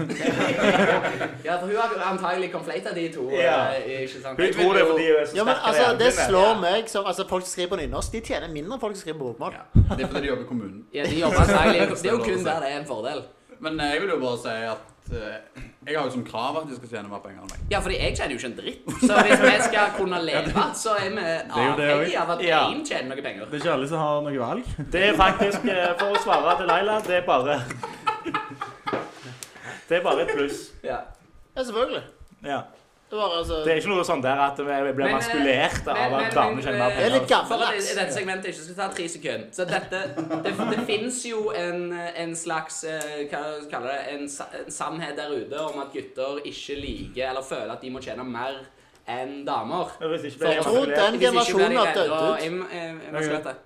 Speaker 1: Ja, for hun har antagelig conflata de to.
Speaker 5: Ja.
Speaker 1: eh, ikke sant?
Speaker 5: Hun tror det er fordi hun er så
Speaker 4: Ja, men
Speaker 5: sterk i
Speaker 4: altså, Det
Speaker 5: hjernen.
Speaker 4: slår meg som altså, Folk som skriver på nynorsk, de tjener mindre enn folk som skriver på bokmål.
Speaker 2: Det er fordi de jobber i kommunen.
Speaker 1: Ja, de jobber antagelig. Det er jo
Speaker 2: Det er
Speaker 1: kun
Speaker 2: lov å si.
Speaker 1: der det er en fordel.
Speaker 2: Men eh, jeg vil jo bare si at eh, jeg har jo som krav at de skal tjene mer penger enn meg.
Speaker 1: Ja, fordi jeg tjener jo ikke en dritt. Så hvis vi skal kunne leve, så er vi
Speaker 3: jo <laughs> det
Speaker 1: avhengig av at
Speaker 5: Ja.
Speaker 1: én tjener noe penger.
Speaker 3: Det er ikke alle som har noe valg.
Speaker 5: Det er faktisk, eh, for å svare til Laila, det er bare <laughs> Det er bare et pluss.
Speaker 1: Ja.
Speaker 4: Ja, selvfølgelig.
Speaker 5: Ja.
Speaker 4: Det var altså
Speaker 5: Det er ikke noe sånn der at vi blir
Speaker 1: Men, eh,
Speaker 5: maskulert av
Speaker 1: men,
Speaker 5: at
Speaker 1: men,
Speaker 5: damer tjener mer
Speaker 1: men,
Speaker 4: Det er litt
Speaker 5: penger.
Speaker 1: For at
Speaker 4: gammeldags.
Speaker 1: i dette segmentet ikke skal ta tre sekunder. Så dette Det, det fins jo en, en slags eh, Hva skal vi kalle det? En, sa- en sannhet der ute om at gutter ikke liker eller føler at de må tjene mer enn damer.
Speaker 5: Hvis ikke
Speaker 1: Jeg
Speaker 5: blir
Speaker 4: tror
Speaker 5: maskulert.
Speaker 4: Den
Speaker 1: Hvis ikke blir
Speaker 4: generasjonen
Speaker 1: de
Speaker 4: har
Speaker 1: redde
Speaker 4: dødd
Speaker 1: og
Speaker 4: ut.
Speaker 1: im- im- emaskulerte.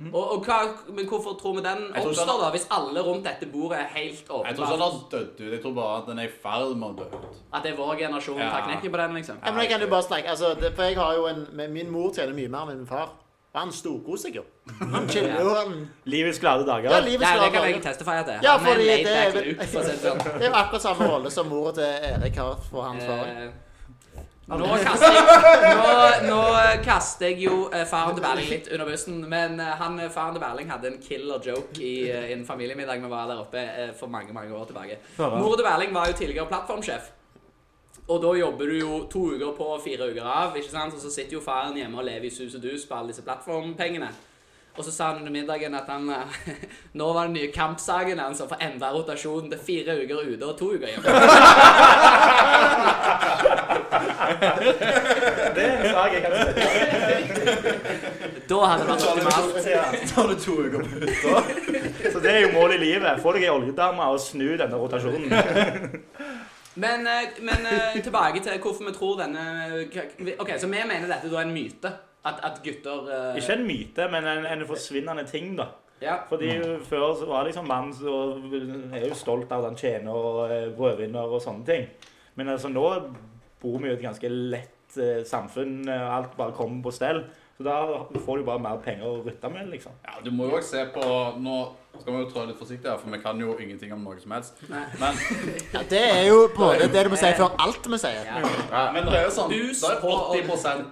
Speaker 1: Og, og hva, men hvorfor Mm. tror vi den
Speaker 2: tror
Speaker 1: oppstår,
Speaker 2: sånn-
Speaker 1: da? Hvis alle rundt dette bordet er helt
Speaker 2: Jeg tror ikke den
Speaker 1: åpne?
Speaker 2: har dødd ut. Jeg tror bare at den er i ferd med å dø <laughs> ut.
Speaker 1: At det er vår generasjon
Speaker 2: Ja.
Speaker 1: tar knekken på den, liksom?
Speaker 4: Ja, men jeg kan jo bare snakke, altså, det, for jeg har jo en, men Min mor tjener mye mer enn min far. Og han storkoser seg jo. Han chiller jo. han-
Speaker 5: Livets glade dager.
Speaker 4: Ja,
Speaker 5: Ja,
Speaker 4: livet
Speaker 1: Nei, det
Speaker 4: slår
Speaker 1: kan jeg
Speaker 4: bare.
Speaker 1: testify at det er.
Speaker 4: Ja,
Speaker 1: Han er en
Speaker 4: fordi
Speaker 1: laid
Speaker 4: det er
Speaker 1: back
Speaker 4: vel-
Speaker 1: luke, for å si det sånn.
Speaker 4: Det er jo akkurat samme rolle som mora til Erik har for hans far.
Speaker 1: Eh, Nå kaster, jeg, nå, nå kaster jeg jo eh, faren til Berling litt under bussen, men eh, han, eh, faren til Berling hadde en killer joke i eh, en familiemiddag vi var der oppe eh, for mange mange år tilbake. Mor til Berling var jo tidligere plattformsjef. Og da jobber du jo to uker på og fire uker av, ikke sant? og så sitter jo faren hjemme og lever i sus og dus på alle disse plattformpengene. Og så sa han under middagen at han eh, <laughs> nå var den nye kampsaken hans å få endra rotasjonen til fire uker ute og to uker hjemme.
Speaker 5: det er en sak jeg kan sette.
Speaker 1: Da hadde det vært optimalt.
Speaker 2: Så har du to uker på hytta.
Speaker 5: Så det er jo målet i livet. Få deg ei oljedame og snu denne rotasjonen.
Speaker 1: Men, eh, men eh, tilbake til hvorfor vi tror denne eh, Ok, Så vi mener dette da er en myte? At, at gutter eh,
Speaker 5: Ikke en myte, men en, en forsvinnende ting, da.
Speaker 1: Ja.
Speaker 5: Fordi
Speaker 4: Mm.
Speaker 5: før så var det liksom mann som er jo stolt av at han tjener og eh, brødvinner og sånne ting. Men altså nå bor vi jo i et ganske lett eh, samfunn, eh, alt bare kommer på stell. Så da får du bare mer penger å rutte med, liksom.
Speaker 2: Ja, du må jo også se på Nå skal vi jo trå litt forsiktig her, for vi kan jo ingenting om noe som helst.
Speaker 1: Nei.
Speaker 2: Men,
Speaker 4: Ja, det er jo på en måte det du må si før alt vi sier.
Speaker 1: Ja.
Speaker 2: men det er jo sånn
Speaker 1: Hus
Speaker 2: Det er
Speaker 1: og-
Speaker 2: 80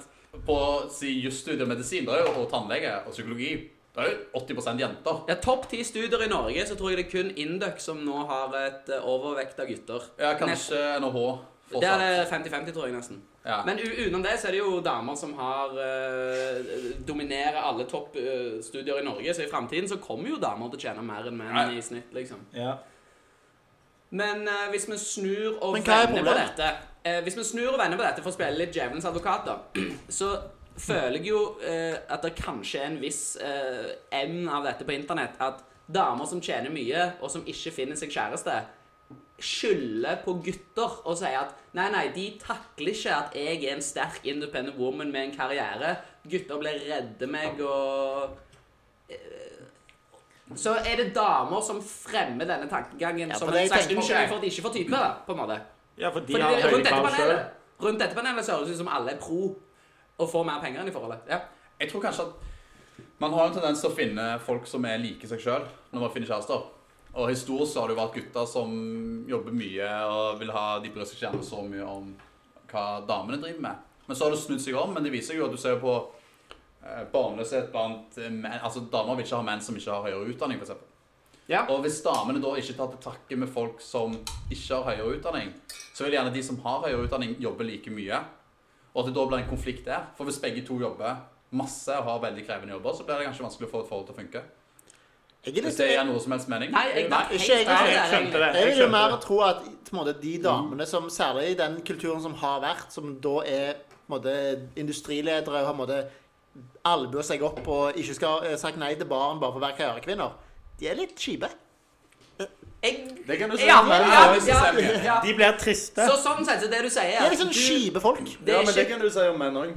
Speaker 2: på si jusstudie og medisin det er jo, og tannlege og psykologi. Det er jo 80 jenter.
Speaker 1: Ja, Topp ti studier i Norge, så tror jeg det er kun Induc som nå har et eh, overvekt av gutter.
Speaker 2: Ja, kanskje NHH. fortsatt.
Speaker 1: Det er det 50-50, tror jeg nesten.
Speaker 2: Ja.
Speaker 1: Men u utenom det så er det jo damer som har eh, dominerer alle toppstudier i Norge, så i framtiden så kommer jo damer til å tjene mer enn menn
Speaker 2: Nei.
Speaker 1: i snitt, liksom.
Speaker 5: Ja.
Speaker 1: Men eh, hvis vi snur og
Speaker 4: Men hva er
Speaker 1: vender på
Speaker 4: problemet?
Speaker 1: dette eh, Hvis vi snur og vender på dette for å spille litt djevelens advokat, da, <clears throat> så føler jeg jo eh, at det kanskje er en viss eh, emn av dette på internett. At damer som tjener mye, og som ikke finner seg kjæreste, skylder på gutter og sier at nei, nei, de takler ikke at jeg er en sterk independent woman med en karriere. Gutter blir redde meg og eh, så er det damer som fremmer denne tankegangen
Speaker 4: Ja, for
Speaker 1: som
Speaker 4: det
Speaker 1: en
Speaker 4: jeg
Speaker 1: slags
Speaker 4: tenker på-
Speaker 1: unnskyldning for at de ikke får type, da, på en måte.
Speaker 5: ja, for de
Speaker 1: Fordi
Speaker 5: har
Speaker 1: det-
Speaker 5: høy
Speaker 1: rundt, dette
Speaker 5: krav sjøl.
Speaker 1: panelet, rundt dette panelet så høres det ut som alle er pro og får mer penger enn i forholdet. Ja.
Speaker 2: Jeg tror kanskje at man har en tendens til å finne folk som er like seg sjøl, når man finner kjærester. Og historisk så har det jo vært gutter som jobber mye og vil ha De bryr seg ikke gjerne så mye om hva damene driver med. Men så har det snudd seg om, men det viser jo at du ser på eh, barnløshet blant eh, menn Altså damer vil ikke ha menn som ikke har høyere utdanning, f.eks.
Speaker 1: Ja.
Speaker 2: Og hvis damene da ikke tar til takke med folk som ikke har høyere utdanning, så vil gjerne de som har høyere utdanning, jobbe like mye. Og at det da blir en konflikt der. For hvis begge to jobber masse og har veldig krevende jobber, så blir det kanskje vanskelig å få et forhold til å funke.
Speaker 4: Jeg er litt,
Speaker 2: Hvis det gir noe som helst mening.
Speaker 1: Nei, jeg,
Speaker 2: Nei.
Speaker 4: ikke jeg,
Speaker 5: Ja, jeg skjønte
Speaker 4: Jeg
Speaker 5: det. Jeg
Speaker 4: vil jo
Speaker 5: skjønte
Speaker 4: mer
Speaker 5: det.
Speaker 4: tro at på en måte, de damene som særlig i den kulturen som har vært, som da er på en måte, industriledere og har på en måte albuer seg opp og ikke skal eh, sagt nei til barn bare for å være karrierekvinner, de er litt kjipe.
Speaker 1: jeg,
Speaker 3: Det kan du si.
Speaker 1: ja,
Speaker 3: men-
Speaker 1: ja,
Speaker 2: hvis det
Speaker 1: ja,
Speaker 2: stemmer.
Speaker 1: ja.
Speaker 5: De blir triste.
Speaker 1: Så sånn sett, så det du sier
Speaker 4: De er liksom
Speaker 1: du-
Speaker 4: kjipe folk.
Speaker 1: det
Speaker 3: ja,
Speaker 1: er
Speaker 3: men det
Speaker 1: ikke
Speaker 3: kan du si om menn òg.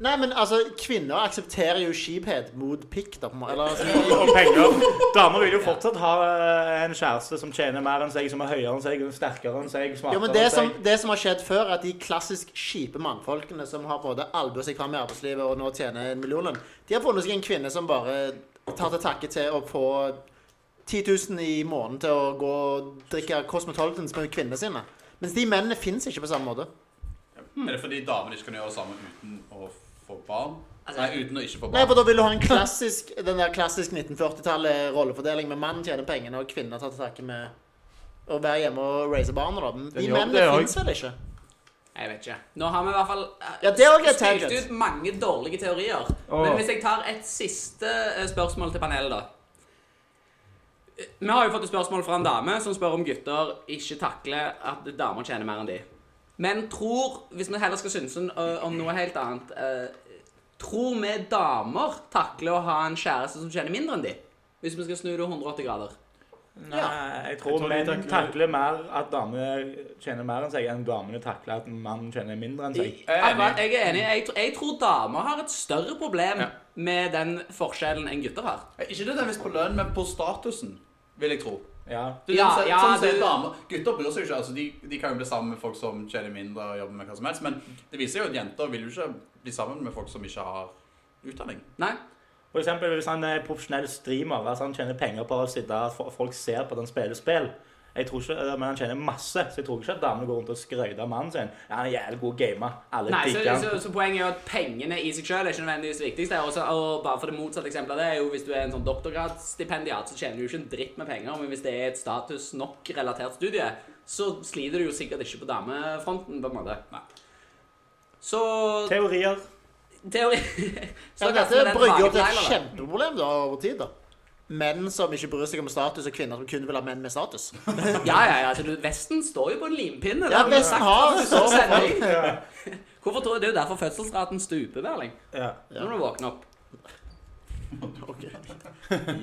Speaker 4: Nei, men altså, kvinner aksepterer jo skiphet mot pikk, da, på en måte. Eller, altså,
Speaker 5: Og penger. Damer vil jo fortsatt ha eh, en kjæreste som tjener mer enn seg, som er høyere enn seg, sterkere enn seg,
Speaker 4: jo,
Speaker 5: smartere
Speaker 4: men det
Speaker 5: enn
Speaker 4: som,
Speaker 5: seg.
Speaker 4: det som har skjedd før, er at de klassisk kjipe mannfolkene som har både albuer seg fram i arbeidslivet og nå tjener en millionlønn, de har funnet seg en kvinne som bare tar til takke til å få 10 000 i måneden til å gå og drikke Cosmopolitans med kvinnene sine. Mens de mennene fins ikke på samme måte.
Speaker 2: <laughs> Er det fordi damene ikke kan gjøre det samme uten å få barn?
Speaker 1: Altså-
Speaker 2: Nei, uten å ikke få
Speaker 4: Nei,
Speaker 2: barn.
Speaker 4: for da vil du ha en klassisk, <laughs> den der klassisk 1940-tallet rollefordeling med mannen tjener pengene og kvinner tar til takke med å være hjemme og raise barna, da. Men De
Speaker 3: jobb, det
Speaker 4: mennene
Speaker 3: er
Speaker 4: fins vel ikke?
Speaker 1: Jeg vet ikke. Nå har vi i hvert fall eh,
Speaker 4: Ja, det er også et
Speaker 1: spylt
Speaker 4: tangent.
Speaker 1: ut mange dårlige teorier.
Speaker 3: Åh.
Speaker 1: Men hvis jeg tar et siste eh, spørsmål til panelet, da. Eh, Vi har jo fått et spørsmål fra en dame som spør om gutter ikke takler at damer tjener mer enn de. Men tror, hvis vi heller skal synse eh, om noe helt annet eh, Tror vi damer takler å ha en kjæreste som tjener mindre enn de? Hvis vi skal snu det 180 grader.
Speaker 5: Nei, jeg tror,
Speaker 3: Jeg tror de
Speaker 5: menn
Speaker 3: takler-
Speaker 5: takler mer at damer tjener mer enn seg, enn damene takler at en mann tjener mindre enn seg.
Speaker 1: Jeg,
Speaker 2: er enig.
Speaker 1: akkurat, jeg er enig. Jeg, tr- jeg tror damer har et større problem med den forskjellen enn gutter har.
Speaker 2: Ikke nødvendigvis på lønn, men på statusen, vil jeg tro.
Speaker 5: Ja.
Speaker 2: Det er
Speaker 1: Ja,
Speaker 2: sånn,
Speaker 1: ja,
Speaker 2: sånn ser
Speaker 1: du-
Speaker 2: damer, gutter bryr seg jo ikke. Altså, de, de kan jo bli sammen med folk som tjener mindre og jobber med hva som helst, men det viser jo at jenter vil jo ikke bli sammen med folk som ikke har utdanning.
Speaker 1: Nei?
Speaker 5: For eksempel hvis han er profesjonell streamer, altså han tjener penger på å sitte at fo- folk ser på at han spiller spill. Jeg tror ikke, eh, Men han tjener masse, så jeg tror ikke at damene går rundt og skryter av mannen sin. Ja, han er jævlig god gamer. Alle
Speaker 1: Nei, så,
Speaker 5: digger
Speaker 1: så,
Speaker 5: han.
Speaker 1: så poenget er jo at pengene i seg selv er ikke nødvendigvis det viktigste. Og, så, og bare for det motsatte eksempelet av det er jo hvis du er en sånn doktorgradsstipendiat, så tjener du jo ikke en dritt med penger, men hvis det er et status nok relatert studie, så sliter du jo sikkert ikke på damefronten, på en måte.
Speaker 2: Nei.
Speaker 1: Så
Speaker 5: Teorier.
Speaker 1: teori... kaster
Speaker 4: Ja,
Speaker 1: vi
Speaker 4: dette
Speaker 1: den
Speaker 4: brygger
Speaker 1: tilbake
Speaker 4: opp til et
Speaker 1: til Leila, da.
Speaker 4: kjempeproblem da, over tid. da. Menn som ikke bryr seg om status, og kvinner som kun vil ha menn med status.
Speaker 1: Ja, ja, ja. Så du, Vesten står jo på en limpinne.
Speaker 4: Ja,
Speaker 1: det vi
Speaker 4: Vesten
Speaker 1: sagt
Speaker 4: har
Speaker 1: før du
Speaker 4: så
Speaker 1: sendte inn. Hvorfor tror jeg det er jo derfor fødselsraten stuper, Berling?
Speaker 5: Ja.
Speaker 1: Når du våkner opp.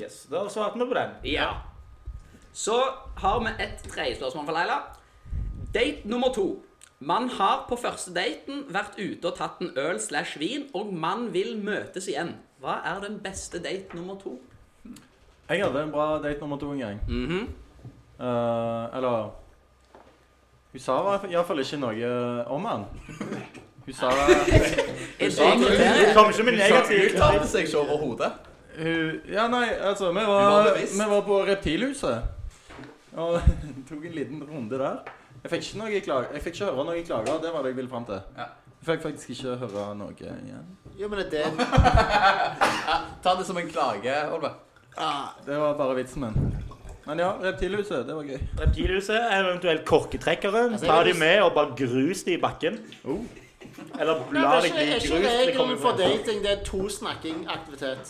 Speaker 5: Yes. Da svarte vi på den.
Speaker 1: Ja. Så har vi et tredje spørsmål fra Leila. Date nummer to. Man har på første daten vært ute og tatt en øl slash vin, og man vil møtes igjen. Hva er den beste date nummer to?
Speaker 3: Jeg hadde en bra date nummer to en gang.
Speaker 1: Mhm.
Speaker 3: Eh, eller Hun sa iallfall ikke noe eh, om han. Hun sa
Speaker 1: Er det
Speaker 2: sa at-
Speaker 5: Det
Speaker 1: kriteriet?
Speaker 5: kommer ikke med
Speaker 2: Hun
Speaker 5: negativ
Speaker 2: uttalte seg ikke overhodet.
Speaker 3: hun, Ja, nei, altså Vi
Speaker 2: Hun var
Speaker 3: var,
Speaker 2: bevisst.
Speaker 3: vi var på Reptilhuset. Og <laughs> tok en liten runde der. Jeg fikk ikke, noe klag, jeg fikk ikke høre noen klager. Det var det jeg ville fram til.
Speaker 2: Ja.
Speaker 3: Jeg fikk faktisk ikke høre noe igjen.
Speaker 4: Jo, men det
Speaker 2: Ta det som en klage, Olve.
Speaker 3: Det var bare vitsen min. Men ja, Reptilhuset. Det var gøy.
Speaker 5: Reptilhuset, eventuelt korketrekkeren.
Speaker 4: Altså, jeg
Speaker 5: Ta
Speaker 4: vil-
Speaker 5: de med og bare grus de i bakken.
Speaker 3: Oh.
Speaker 5: Eller
Speaker 4: Nei,
Speaker 5: bla
Speaker 4: det
Speaker 5: deg
Speaker 4: er
Speaker 5: i
Speaker 4: ikke,
Speaker 5: grus.
Speaker 4: ikke
Speaker 5: Det
Speaker 4: regelen
Speaker 5: kommer
Speaker 4: for
Speaker 5: fra-
Speaker 4: dating. Det er to snakking aktivitet.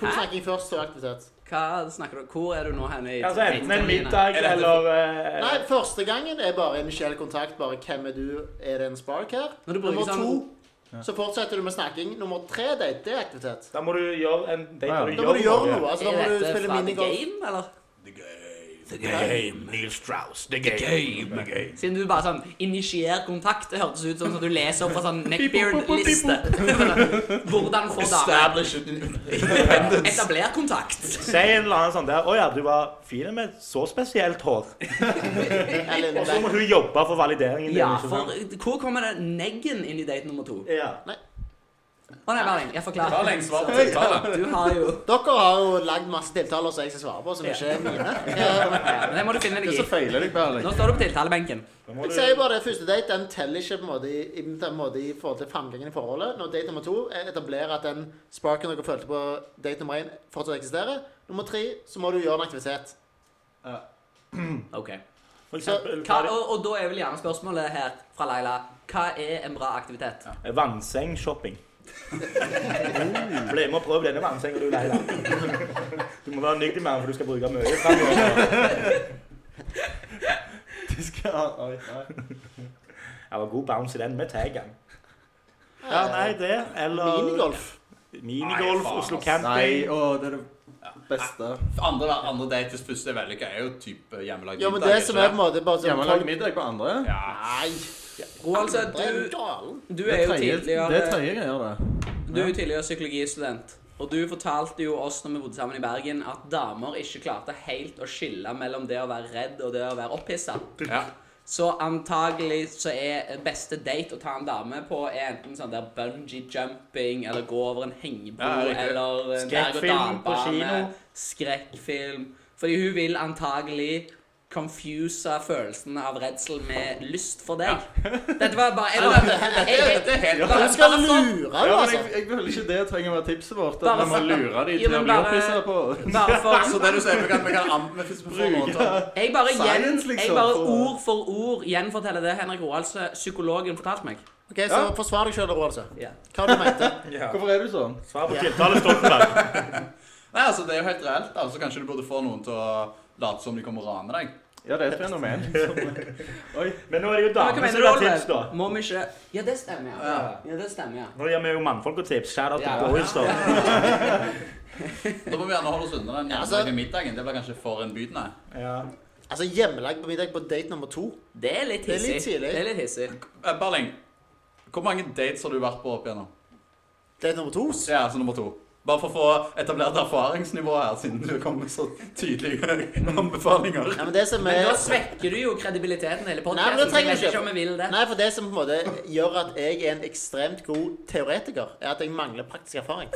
Speaker 4: To
Speaker 1: Hæ?
Speaker 4: snakking først, så aktivitet.
Speaker 1: Hva snakker du Hvor er du nå hen i
Speaker 5: Altså enten en
Speaker 1: datingterminen?
Speaker 5: middag
Speaker 2: Er dette-
Speaker 5: eller eh,
Speaker 4: Nei, første gangen er bare initiell kontakt. Bare 'Hvem er du? Er det en spark her?'
Speaker 1: Når du bruker
Speaker 4: Nummer
Speaker 1: samme
Speaker 4: to, så fortsetter du med snakking. Nummer tre, date, det er aktivitet.
Speaker 5: Da må du gjøre en date
Speaker 3: Ja, ja.
Speaker 5: hvor
Speaker 4: Da må du gjøre noe. altså Da må
Speaker 1: Er
Speaker 4: du
Speaker 1: dette
Speaker 4: spille
Speaker 1: fra The
Speaker 4: minigolf.
Speaker 1: Game, eller?
Speaker 2: The game. Neil Strauss. The game. The game.
Speaker 1: Siden du bare sånn initierer kontakt, det hørtes ut som at du leser opp fra sånn <laughs> neckbeard-liste. sånn, Hvordan få dame
Speaker 2: Establish independence.
Speaker 1: Etabler kontakt.
Speaker 5: Si en eller annen sånn der 'Å ja, du var fin med så spesielt hår'.
Speaker 4: Eller
Speaker 5: Og så må
Speaker 4: nei.
Speaker 5: hun jobbe for valideringen din.
Speaker 1: Ja, for
Speaker 5: ikke sant?
Speaker 1: hvor kommer det neggen inn i date nummer to?
Speaker 5: ja.
Speaker 1: Å nei, Berling, jeg
Speaker 2: <laughs> Ta
Speaker 1: forklarer.
Speaker 2: lengst svar på tiltale.
Speaker 1: Du har jo
Speaker 4: Dere har jo lagd masse tiltaler som jeg skal svare på, som ikke er mine. Eh,
Speaker 1: ja, men Det må du finne
Speaker 3: Det
Speaker 1: deg
Speaker 3: som
Speaker 1: i.
Speaker 3: feiler deg, Berling.
Speaker 1: Nå står du på tiltalebenken.
Speaker 5: Da må
Speaker 4: Jeg
Speaker 5: du-
Speaker 4: sier bare det første date den teller ikke på en måte i, i, på en måte i forhold til framgangen i forholdet. Når date nummer to er etablerer at den sparken dere følte på date nummer én, fortsatt eksisterer. Nummer tre, så må du gjøre en aktivitet.
Speaker 1: Ok.
Speaker 5: For eksempel,
Speaker 1: Hva, og, og da er vel gjerne spørsmålet her fra Laila Hva er en bra aktivitet?
Speaker 4: <laughs>
Speaker 5: Vannsengshopping. Bli med og prøv denne vannsenga du leier. Du må være nyktig med den, for du skal bruke mye fremover.
Speaker 3: Du skal- oi, nei.
Speaker 5: Jeg var god bounce i den med taggen. Ja, nei, det. Eller
Speaker 4: Minigolf.
Speaker 5: Minigolf,
Speaker 2: Nei, faen,
Speaker 5: Oslo
Speaker 2: ass.
Speaker 3: Nei,
Speaker 5: camping.
Speaker 3: å, det er det beste.
Speaker 2: Andre, andre date hvis første er vellykka, er jo type hjemmelagd
Speaker 4: Ja, men det som er på en måte bare sånn
Speaker 3: Hjemmelagd middag på andre.
Speaker 2: Ja.
Speaker 4: Nei,
Speaker 1: Roald, så
Speaker 4: det er jo
Speaker 1: du,
Speaker 4: galen.
Speaker 1: du
Speaker 3: Det
Speaker 1: er
Speaker 3: er
Speaker 1: jo
Speaker 3: tredje- det er
Speaker 1: tidligere
Speaker 3: tredje greier, det.
Speaker 1: Du er jo tidligere psykologistudent, og du fortalte jo oss når vi bodde sammen i Bergen, at damer ikke klarte helt å skille mellom det å være redd og det å være opphissa.
Speaker 2: Ja.
Speaker 1: Så antagelig så er beste date å ta en dame på er enten sånn der bungee jumping, eller gå over en hengebro,
Speaker 2: Ja, riktig.
Speaker 1: eller en
Speaker 5: Skrekkfilm på
Speaker 1: berg-og-dal-bane,
Speaker 5: kino.
Speaker 1: Skrekkfilm. Fordi hun vil antagelig confuse følelsen av redsel med lyst for deg.
Speaker 5: <laughs>
Speaker 1: Dette var bare Jeg, bare, jeg, jeg, jeg,
Speaker 2: Det er helt
Speaker 4: Du skal lure,
Speaker 3: Ja, men
Speaker 4: altså.
Speaker 3: jeg, jeg føler ikke det trenger å være tipset vårt. At
Speaker 1: Bare
Speaker 3: vi må
Speaker 1: for-
Speaker 3: lure de
Speaker 1: Ja,
Speaker 3: til å
Speaker 1: men
Speaker 3: bli
Speaker 1: bare-
Speaker 3: opphissa på
Speaker 1: bare for
Speaker 2: <laughs> Så det du sier, vi kan, vi kan an, vi får noe til å-
Speaker 1: Jeg bare, gjen,
Speaker 3: Science, liksom,
Speaker 1: jeg bare
Speaker 3: for-
Speaker 1: ord for ord gjenforteller det Henrik Roaldse, psykologen, fortalte meg.
Speaker 4: Ok, Så forsvar deg sjøl, Roald.
Speaker 1: Ja.
Speaker 4: Hva du mente du?
Speaker 5: Ja.
Speaker 3: Hvorfor er du sånn?
Speaker 5: Svar på tiltale, Stoltenberg.
Speaker 2: Nei, altså, det er jo helt reelt. da. Så kanskje du burde få noen til å late som de kommer og raner deg.
Speaker 3: Ja, det er et fenomen. Oi.
Speaker 5: Men nå er det jo
Speaker 1: Men Hva
Speaker 5: damer
Speaker 1: mener
Speaker 5: som
Speaker 1: du,
Speaker 5: gir tips, da.
Speaker 1: Olve? Må vi ikke Ja, det stemmer, ja. ja det stemmer, ja.
Speaker 5: Nå gir vi jo mannfolk og tips. Shout out til
Speaker 1: Ja.
Speaker 5: boys, da.
Speaker 2: Da må vi gjerne holde oss unna den
Speaker 4: Ja,
Speaker 2: jævla
Speaker 4: altså-
Speaker 2: middagen. Det blir kanskje for innbydende.
Speaker 5: Ja.
Speaker 4: Altså, Hjemmelagd på middag på date nummer to.
Speaker 1: Det er litt
Speaker 4: Det er litt
Speaker 1: hissig.
Speaker 4: tidlig.
Speaker 1: Det er litt hissig.
Speaker 2: Eh, Berling, hvor mange dates har du vært på opp igjennom?
Speaker 4: Date nummer to?
Speaker 2: Ja, altså nummer to. Bare for å få etablert erfaringsnivået her, siden du kom med så tydelige anbefalinger.
Speaker 4: Nei, men det som
Speaker 1: Men
Speaker 4: er
Speaker 1: da svekker du jo kredibiliteten i hele
Speaker 4: Nei, men det
Speaker 1: podkasten. Jeg
Speaker 4: trenger
Speaker 1: vet
Speaker 4: vi
Speaker 1: ikke om vi vil det.
Speaker 4: Nei, for det som på en måte gjør at jeg er en ekstremt god teoretiker, er at jeg mangler praktisk erfaring.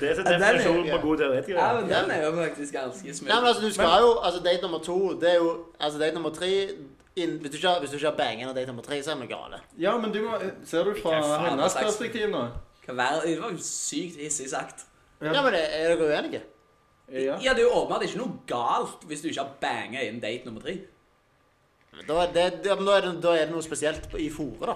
Speaker 5: Det er så
Speaker 1: den er-
Speaker 5: definisjonen på god
Speaker 1: Ja,
Speaker 5: teoretiker.
Speaker 1: men Den er jo faktisk ganske
Speaker 4: Nei, men
Speaker 1: smooth.
Speaker 4: altså, du skal jo Altså, date nummer to, det er jo Altså, date nummer tre inn, hvis, du ikke har, hvis du ikke har bangen av date nummer tre, så er vi gale.
Speaker 3: Ja, men du må Ser du fra
Speaker 1: Hva faen,
Speaker 3: hennes
Speaker 1: det er sex.
Speaker 3: perspektiv nå?
Speaker 1: Hva vær- Det var jo sykt hissig sagt.
Speaker 4: Ja, men det- er dere uenige?
Speaker 3: Ja.
Speaker 1: Ja, det er jo åpenbart ikke noe galt hvis du ikke har banga inn date nummer tre.
Speaker 4: Da er det, ja, men da er det, da er det noe spesielt på- i fòret, da.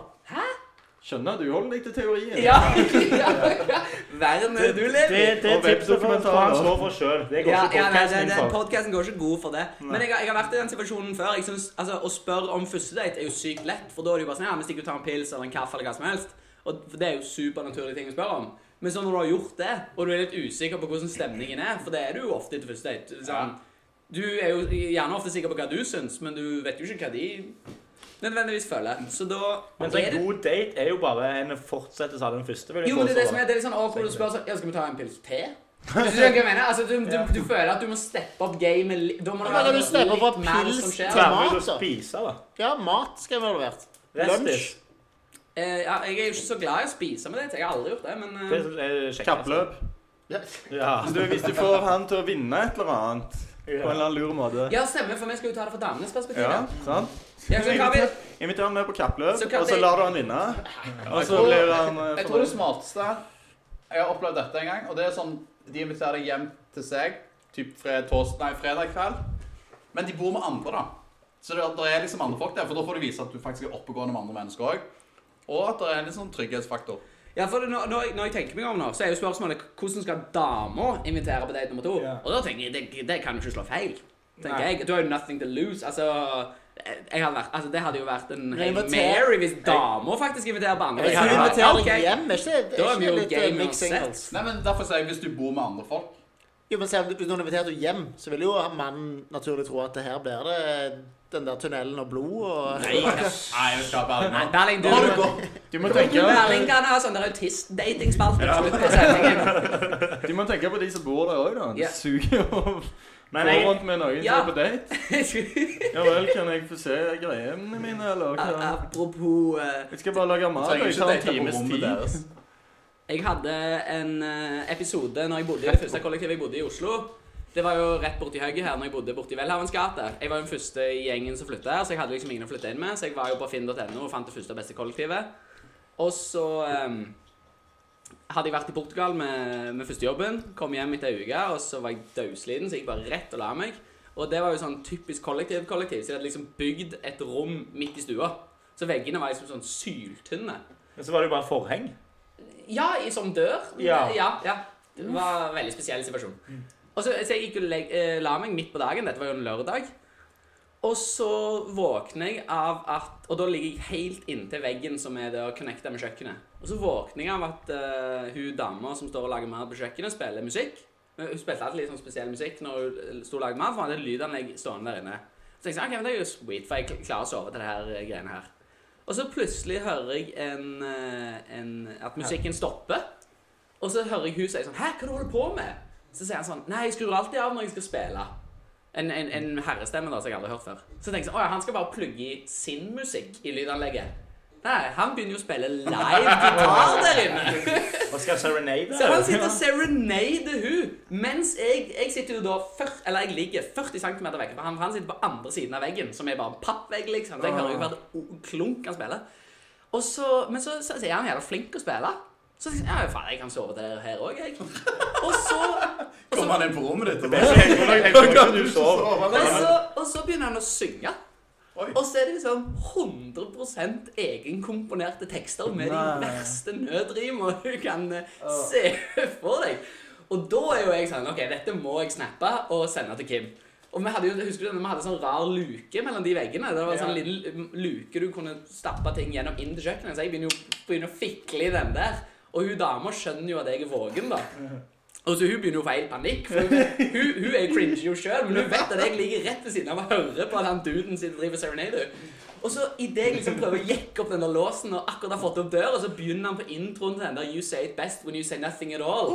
Speaker 3: Skjønner du holder deg til teorien?
Speaker 1: Ja, <laughs> ja, ja. Verden er det du lever i.
Speaker 5: Det, det er
Speaker 3: Og
Speaker 5: tipset for
Speaker 3: webdokumentarer.
Speaker 5: for han står for selv. Det går
Speaker 1: Ja,
Speaker 5: ikke
Speaker 1: ja, nei,
Speaker 5: podcasten
Speaker 1: det,
Speaker 5: inn
Speaker 1: det,
Speaker 5: for.
Speaker 1: podcasten går ikke god for det. Men jeg, har- jeg har vært i den situasjonen før. Jeg synes, altså, å spørre om første date er jo sykt lett. For da er det jo bare sånn Ja, vi stikker ut og tar en pils eller en kaffe eller hva som helst. Og for Det er jo supernaturlige ting å spørre om. Men så når du har gjort det, og du er litt usikker på hvordan stemningen er For det er du jo ofte etter første date. Sånn, Du er jo gjerne ofte sikker på hva du syns, men du vet jo ikke hva de nødvendigvis føler. Så da
Speaker 5: Men så
Speaker 1: er
Speaker 5: en
Speaker 1: det-
Speaker 5: god date er jo bare en fortsettelse av den første. vil jeg
Speaker 1: Jo, men det er det som
Speaker 5: foreslå.
Speaker 1: er, det er litt sånn awkward å spørre sånn Ja, skal vi ta en pils te? Hvis du skjønner hva jeg mener? Altså, du, du, du føler at du må steppe opp gamet litt. Da må det
Speaker 4: Ja,
Speaker 1: være
Speaker 4: men du stepper opp
Speaker 1: litt mer
Speaker 4: pils
Speaker 1: som
Speaker 4: til-
Speaker 1: skjer.
Speaker 5: Være med ut og
Speaker 4: Mat, da.
Speaker 5: spise, da.
Speaker 4: Ja, mat skal være levert.
Speaker 5: Restis.
Speaker 4: Lunsj.
Speaker 1: Eh, ja, jeg er jo ikke så glad i å spise med det. Jeg har aldri gjort det, men
Speaker 5: Det
Speaker 1: eh,
Speaker 5: er kjekkest.
Speaker 3: Kappløp.
Speaker 5: Ja.
Speaker 3: Du, hvis du får han til å vinne et eller annet på en eller annen lur måte
Speaker 1: Ja, stemmer, for vi skal jo ta det fra damenes perspektiv.
Speaker 3: Ja,
Speaker 1: Ja.
Speaker 3: sant?
Speaker 1: Ja, så hva
Speaker 4: <laughs>
Speaker 1: vil-
Speaker 3: Inviter han med på kappløp,
Speaker 1: Så kan
Speaker 3: og så
Speaker 1: vi-
Speaker 3: lar du han vinne. Og så
Speaker 2: tror-
Speaker 3: blir han eh,
Speaker 2: Jeg tror det smarteste Jeg har opplevd dette en gang, og det er sånn De inviterer deg hjem til seg typ fred, tors, nei, fredag kveld, men de bor med andre, da. Så det, det er liksom andre folk der, for da får du vise at du faktisk er oppegående med andre mennesker òg. Og at det er en litt sånn trygghetsfaktor.
Speaker 1: Ja, for når, når, jeg, når jeg tenker meg om nå, så er jo spørsmålet hvordan skal damer invitere på date nummer to?
Speaker 5: Ja.
Speaker 1: Og da tenker jeg, det, det kan jo ikke slå feil. Tenker
Speaker 5: Nei.
Speaker 1: jeg. Du har jo nothing to lose. Altså, jeg jeg hadde vært, altså det hadde jo vært en Hail
Speaker 4: inviter-
Speaker 1: Mary hvis damer faktisk inviterer på andre.
Speaker 4: Jeg
Speaker 1: date.
Speaker 4: tror du inviterer
Speaker 1: Ok.
Speaker 4: deg hjem. Er ikke,
Speaker 1: Da
Speaker 4: er
Speaker 1: er vi
Speaker 4: ikke
Speaker 1: jo
Speaker 4: det litt eh,
Speaker 1: game
Speaker 4: mixed signals?
Speaker 1: uansett.
Speaker 2: Nei, men Derfor sier jeg hvis du bor med andre folk
Speaker 4: Jo, men se, om du- Hvis noen inviterer deg hjem, så vil jo mannen naturlig tro at det her blir det den der tunnelen og blod og
Speaker 1: Nei,
Speaker 2: Nei, jeg skal bare
Speaker 1: Nei, Berling, du,
Speaker 2: Nå har du gått.
Speaker 3: Du må tenke,
Speaker 1: Berling kan ha sånn der autist-datingspalt. på slutten av <laughs> sendingen.
Speaker 3: du må tenke på de som bor der òg, da.
Speaker 1: Ja.
Speaker 3: Det suger jo å gå
Speaker 5: Men jeg,
Speaker 3: rundt med noen som
Speaker 1: Ja.
Speaker 3: er på date. Ja vel, kan jeg få se greiene mine, eller hva?
Speaker 1: Apropos eh,
Speaker 3: Jeg skal bare lage mat. og
Speaker 2: Trenger
Speaker 3: Jeg
Speaker 2: ikke
Speaker 3: tar en
Speaker 2: date på
Speaker 3: times
Speaker 2: rommet
Speaker 3: tid.
Speaker 2: deres.
Speaker 1: Jeg hadde en eh, episode når jeg bodde i det første kollektivet jeg bodde i Oslo. Det var jo rett borti høyre her når jeg bodde borti Welhavens gate. Jeg var jo den første i gjengen som flytta her, så jeg hadde liksom ingen å flytte inn med. Så jeg var jo på finn.no og fant det første og beste kollektivet. Og så ehm, hadde jeg vært i Portugal med, med førstejobben. Kom hjem etter ei uke, og så var jeg dødsliten, så jeg gikk bare rett og la meg. Og det var jo sånn typisk kollektiv-kollektiv, så de hadde liksom bygd et rom midt i stua. Så veggene var liksom sånn syltynne.
Speaker 5: men så var det jo bare forheng.
Speaker 1: Ja, i, som dør.
Speaker 5: Ja.
Speaker 1: ja, ja. Det var en veldig spesiell situasjon. Og så, så jeg gikk og leg, eh, la meg midt på dagen. Dette var jo en lørdag. Og så våkner jeg av at Og da ligger jeg helt inntil veggen som er der connecta med kjøkkenet. Og så våkner jeg av at eh, hun dama som står og lager mat på kjøkkenet, spiller musikk. Men Hun spilte alltid litt sånn spesiell musikk når hun eh, sto og lagde mat, for hun hadde et lydanlegg stående der inne. Så jeg sa ok, men det er jo sweet, for jeg kl- klarer å sove til det her eh, greiene her. Og så plutselig hører jeg en, eh, en, at musikken stopper. Og så hører jeg hun si sånn Hæ, hva du holder du på med? Så sier han sånn Nei, jeg skrur alltid av når jeg skal spille. En, en, en herrestemme da, som jeg aldri har hørt før. Så tenker jeg sånn Å ja, han skal bare plugge i sin musikk i lydanlegget. Nei, han begynner jo å spille live gitar der inne.
Speaker 5: Og skal serenade.
Speaker 1: Så han
Speaker 5: <laughs>
Speaker 1: sitter og serenader hun, mens jeg, jeg sitter jo da fyr, Eller jeg ligger 40 cm vekk fra han, for han sitter på andre siden av veggen, som er bare en pappvegg, liksom. Så jeg hører jo hvert o- klunk han spiller. Og så, men så, så, så er han jævla flink å spille. Så tenker jeg ja, faen, jeg kan sove der her òg, jeg. Og så, og så,
Speaker 2: Kommer han inn på rommet ditt og
Speaker 5: Jeg
Speaker 2: bare
Speaker 5: tror nok- jeg tror
Speaker 1: <laughs>
Speaker 5: nok du sover.
Speaker 1: og så, og så begynner han å synge.
Speaker 2: Oi.
Speaker 1: Og så er det liksom 100 egenkomponerte tekster med de
Speaker 3: Nei.
Speaker 1: verste nødrimer du kan eh, se for deg. Og da er jo jeg sånn OK, dette må jeg snappe og sende til Kim. Og vi hadde jo, husker du denne, vi hadde sånn rar luke mellom de veggene. Det var en sånn
Speaker 5: Ja.
Speaker 1: liten luke du kunne stappe ting gjennom inn til kjøkkenet. Så jeg begynner jo begynner å fikle i den der. Og hun dama skjønner jo at jeg er våken, da. Og så hun begynner jo å få helt panikk, for hun, hun, hun er cringe jo sjøl, men hun vet at jeg ligger rett ved siden av og hører på at han duden sin driver serenade. Og så idet jeg liksom prøver å jekke opp den der låsen og akkurat har fått opp døra, så begynner han på introen til den der You say it best when you say nothing at all.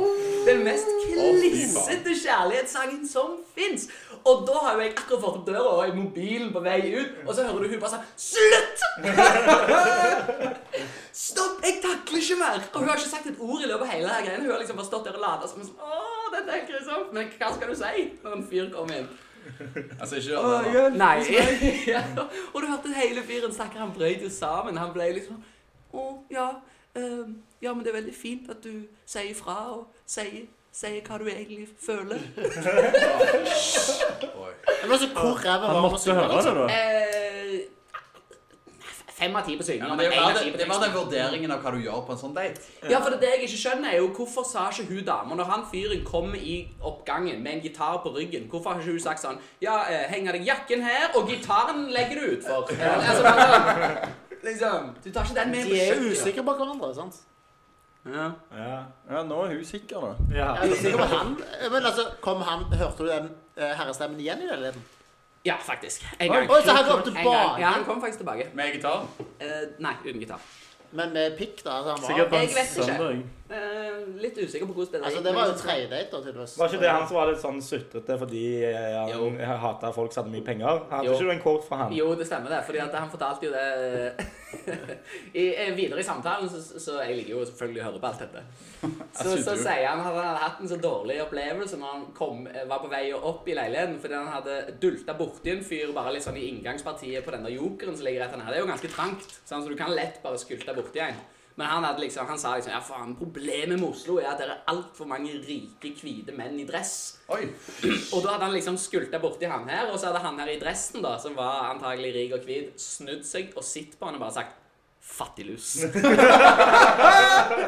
Speaker 1: Den mest klissete kjærlighetssangen som fins. Og da har jo jeg akkurat fått opp døra og er mobilen på vei ut, og så hører du hun bare sånn Slutt! Stopp! Jeg takler ikke mer! Og hun har ikke sagt et ord i løpet av hele her greien. Hun har liksom bare stått der og lada som en sånn Åh, dette er helt grusomt. sånn.» Men hva skal du si når en fyr kommer inn?
Speaker 2: Altså, ikke
Speaker 3: Å,
Speaker 2: gjør det. da.
Speaker 3: hjelp.
Speaker 1: Nei. <laughs> ja. Og du hørte hele fyren snakke. Han brøt jo sammen. Han ble liksom Å, ja. ehm, ja, men det er veldig fint at du sier ifra og sier, sier hva du egentlig føler. <laughs>
Speaker 2: Oi.
Speaker 4: Men altså, hvor ræva var
Speaker 3: Han
Speaker 4: han å
Speaker 3: måtte
Speaker 4: synge,
Speaker 3: høre
Speaker 4: liksom?
Speaker 3: det, da.
Speaker 1: Eh, fem av ti på synging.
Speaker 2: Ja, men
Speaker 1: men
Speaker 2: det er
Speaker 1: en
Speaker 2: jo
Speaker 1: av ti
Speaker 2: bare
Speaker 1: på
Speaker 2: det er bare
Speaker 1: teksten.
Speaker 2: den vurderingen av hva du gjør på en sånn date.
Speaker 1: Ja, for det, er det jeg ikke skjønner er jo hvorfor sa ikke hun dama når han fyren kommer i oppgangen med en gitar på ryggen, hvorfor har ikke hun sagt sånn Ja, eh, henger deg jakken her, og gitaren legger du utfor. Ja. <laughs> Altså, bare sånn, liksom, du tar ikke den med
Speaker 4: De er
Speaker 1: kjøkkenet.
Speaker 4: usikre på hverandre, sant?
Speaker 1: Ja.
Speaker 5: Ja.
Speaker 3: Ja, nå er hun sikker, da.
Speaker 5: Ja.
Speaker 4: Jeg er sikker på han. Men altså, kom han, hørte du den eh, herrestemmen igjen i leiligheten?
Speaker 1: ja, faktisk. En
Speaker 4: Oi,
Speaker 1: gang.
Speaker 4: så han kom
Speaker 1: En gang. Ja,
Speaker 4: tilbake,
Speaker 1: han kom faktisk tilbake.
Speaker 2: Med gitar.
Speaker 1: Eh, nei, uten gitar.
Speaker 4: men med pikk, da. Altså, han
Speaker 3: Sikkert
Speaker 4: var,
Speaker 3: på en
Speaker 1: Jeg vet ikke.
Speaker 3: søndag.
Speaker 1: Eh, litt usikker på hvordan det
Speaker 4: altså, det var jo tredje date, da, tydeligvis.
Speaker 5: Var ikke det han som var litt sånn sutrete fordi eh,
Speaker 1: Jo.
Speaker 5: han hata folk som hadde mye penger? Hadde
Speaker 1: Jo.
Speaker 5: ikke du en kort fra han?
Speaker 1: Jo, det stemmer det. fordi at han fortalte jo det I, eh, <laughs> Videre i samtalen, så, så jeg liker jo selvfølgelig å høre på alt dette. Så,
Speaker 2: Jeg synes
Speaker 1: så
Speaker 2: jo.
Speaker 1: sier han at han hadde hatt en så dårlig opplevelse når han kom, eh, var på vei opp i leiligheten fordi han hadde dulta borti en fyr bare litt sånn i inngangspartiet på den der jokeren som ligger rett her nede. Det er jo ganske trangt, sånn, så du kan lett bare skulte borti en. Men han, hadde liksom, han sa liksom ja faen, problemet med Oslo er at det er altfor mange rike, hvite menn i dress.
Speaker 2: Oi.
Speaker 1: Og da hadde han liksom skulta borti han her, og så hadde han her i dressen, da, som var antagelig rik og hvit, snudd seg og sett på han og bare sagt
Speaker 5: <laughs>
Speaker 1: Fattiglus.
Speaker 5: Nei,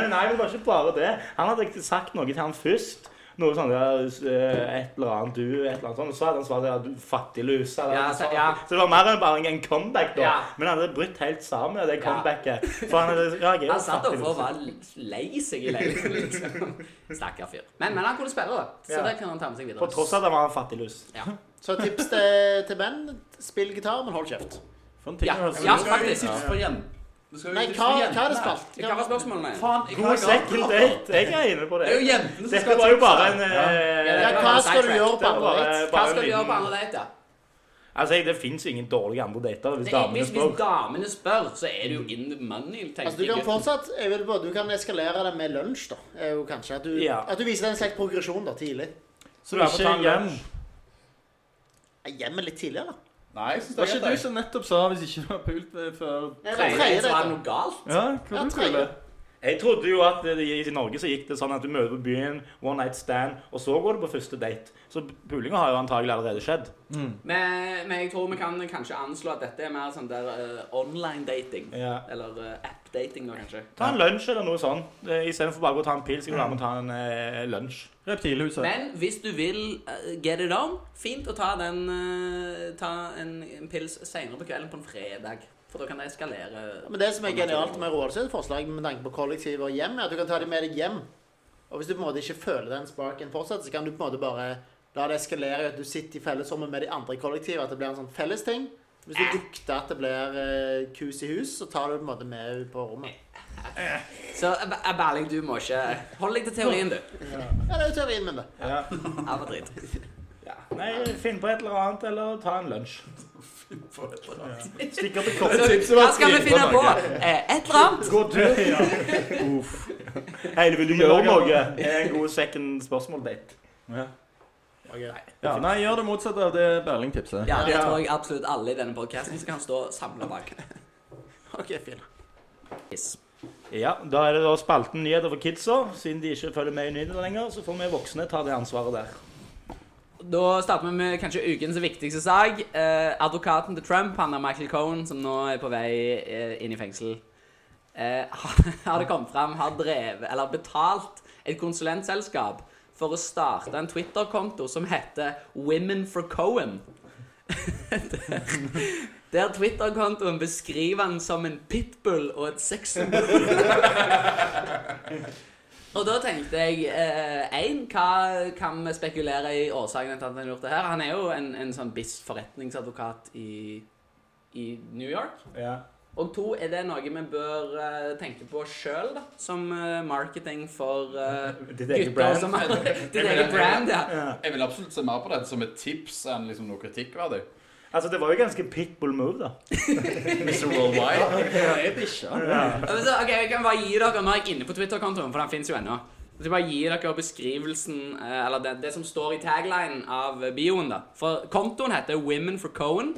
Speaker 5: men nei, men det var ikke bare det. Han hadde ikke sagt noe til han først. Noe sånn der, eh, et eller annet du, et eller annet sånt. Og så hadde han svart ja, du fattiglus. eller
Speaker 1: Ja,
Speaker 5: noe
Speaker 1: så-
Speaker 5: sånt.
Speaker 1: ja.
Speaker 5: Så det var mer enn bare en comeback, da.
Speaker 1: Ja.
Speaker 5: Men han hadde brutt helt sammen, det
Speaker 1: Ja.
Speaker 5: comebacket. For han hadde ja, jeg er jo
Speaker 1: Han satt overfor og
Speaker 5: fattiglus.
Speaker 1: var lei seg i leiligheten, liksom. Stakkar fyr. Men, men han kunne spille, da, så
Speaker 5: Ja.
Speaker 1: det kan han ta med seg videre.
Speaker 5: På tross av at han var en fattiglus.
Speaker 1: Ja.
Speaker 4: Så tips til, til menn spill gitar, men hold kjeft.
Speaker 3: For en ting
Speaker 1: Ja.
Speaker 3: å høre.
Speaker 1: Ja.
Speaker 2: Du skal jo gi
Speaker 1: faktisk.
Speaker 2: tips for jen- du skal jo gi
Speaker 4: Nei,
Speaker 2: tips
Speaker 4: hva,
Speaker 2: for
Speaker 4: hva er det
Speaker 2: jentene.
Speaker 4: spalt?
Speaker 1: Hva var spørsmålene?
Speaker 2: Faen, jeg
Speaker 5: God
Speaker 2: klager.
Speaker 5: second date. Jeg er inne på
Speaker 2: Det er jo
Speaker 5: det.
Speaker 2: jentene som
Speaker 5: Dette
Speaker 2: skal
Speaker 5: var jo
Speaker 2: tipse.
Speaker 5: bare en
Speaker 3: Ja.
Speaker 5: eh,
Speaker 1: Ja,
Speaker 4: Ja, hva skal du gjøre på
Speaker 5: det var
Speaker 4: andre date?
Speaker 5: bare,
Speaker 1: Hva
Speaker 5: bare en
Speaker 1: skal du gjøre på
Speaker 5: liten
Speaker 1: andre date? da?
Speaker 5: Altså, jeg- Det fins jo ingen dårlige andre dater hvis
Speaker 1: Det er-
Speaker 5: damene
Speaker 1: Hvis,
Speaker 5: spør.
Speaker 1: hvis damene spør, så er det jo in the money, tenker
Speaker 4: Altså, du kan
Speaker 1: gutten.
Speaker 4: fortsatt, jeg vil bare, du kan eskalere det med lunsj, da. Er jo kanskje at du,
Speaker 5: Ja.
Speaker 4: at du viser en slags progresjon da, tidlig.
Speaker 3: Så du er ikke hjem.
Speaker 4: Ja, Hjemme litt tidligere, da.
Speaker 2: Nei, jeg synes det
Speaker 3: Var
Speaker 2: er
Speaker 3: ikke du
Speaker 2: <laughs> greit. jeg.
Speaker 3: som nettopp sa hvis ikke du har pult eh, før
Speaker 1: Tredje
Speaker 4: Tredje
Speaker 1: date, så var det sånn-
Speaker 4: date.
Speaker 1: noe galt.
Speaker 3: Ja, hva
Speaker 4: Ja,
Speaker 3: du
Speaker 4: tredje.
Speaker 3: føler
Speaker 5: Jeg trodde jo at det, i Norge så gikk det sånn at du møter på byen, one night stand, og så går du på første date. Så pulinga har jo antagelig allerede skjedd.
Speaker 1: Men, men jeg tror vi kan kanskje anslå at dette er mer sånn der eh, online dating.
Speaker 5: Ja.
Speaker 1: Eller eh, app-dating, da, kanskje.
Speaker 5: Ta en lunsj eller noe sånn. Eh, Istedenfor bare å gå og ta en pils, så kan du være med og ta en eh, lunsj.
Speaker 3: Reptilhuset.
Speaker 1: Men hvis du vil eh, get it on, fint å ta, den, eh, ta en, en pils senere på kvelden på en fredag. For da kan det eskalere.
Speaker 4: Men det som er genialt med Roald sitt forslag med tanke på kollektiv og hjem, er at du kan ta dem med deg hjem. Og hvis du på en måte ikke føler den sparken fortsatt, så kan du på en måte bare la det eskalere at du sitter i fellesrommet med de andre i kollektivet, at det blir en sånn felles ting. Hvis du lukter at det blir eh, kus i hus, så tar du det på en måte med ut på rommet.
Speaker 1: Så eh, Ber- Berling, du må ikke Hold deg til teorien, du.
Speaker 4: Ja, det er jo teorien min, det.
Speaker 5: Ja.
Speaker 1: Alt er
Speaker 5: <laughs>
Speaker 1: dritt.
Speaker 5: Nei, finn på et eller annet, eller ta en lunsj.
Speaker 2: For et eller annet.
Speaker 5: Stikk opp i
Speaker 1: Så,
Speaker 5: koppen.
Speaker 1: hva skal vi finne på? Eh, et eller annet?
Speaker 5: Gå tur. Hei, vil du gjøre noe? Er en god second spørsmål-date.
Speaker 3: Ja.
Speaker 4: Ok.
Speaker 3: Ja, nei, gjør det motsatte av det Berling tipset.
Speaker 1: Ja, det tror jeg absolutt alle i denne podkasten som kan stå samla bak.
Speaker 4: OK, fint.
Speaker 1: Yes.
Speaker 5: Ja, da er det da spalten nyheter for kidsa. Siden de ikke følger med i nyhetene lenger, så får vi voksne ta det ansvaret der.
Speaker 1: Da starter vi med kanskje ukens viktigste sak. Eh, advokaten til Trump, han er Michael Cohen, som nå er på vei eh, inn i fengsel, eh, <laughs> har det kommet fram, har drevet, eller betalt et konsulentselskap for å starte en Twitter-konto som heter Women for Cohen. <laughs> Der der Twitter-kontoen beskriver han som en pitbull og et sexsymbol. Og da tenkte jeg eh, en, hva kan vi spekulere i årsaken til at han har gjort det her? Han er jo en, en sånn BIS-forretningsadvokat i, i New York.
Speaker 5: Ja.
Speaker 1: Og to, er det noe vi bør eh, tenke på sjøl, da? Som eh, marketing for eh,
Speaker 5: Ditt eget
Speaker 1: gutter
Speaker 5: brand.
Speaker 1: som har
Speaker 5: <laughs>
Speaker 1: ditt eget brand, ja.
Speaker 5: Ja.
Speaker 2: Jeg vil absolutt se mer på det som et tips enn liksom noe <laughs> kritikkverdig.
Speaker 5: Altså, det var jo ganske pitbull move,
Speaker 3: <laughs>
Speaker 5: da.
Speaker 2: Mr. Worldwide.
Speaker 3: Jeg er bikkja.
Speaker 1: Ja, men Så, ok, jeg kan bare gi dere, Nå er jeg inne på Twitter-kontoen, for den finnes jo ennå. Så jeg bare gi dere beskrivelsen, eh, eller det, det som står i taglinen av bioen. da. For Kontoen heter Women for Cohen,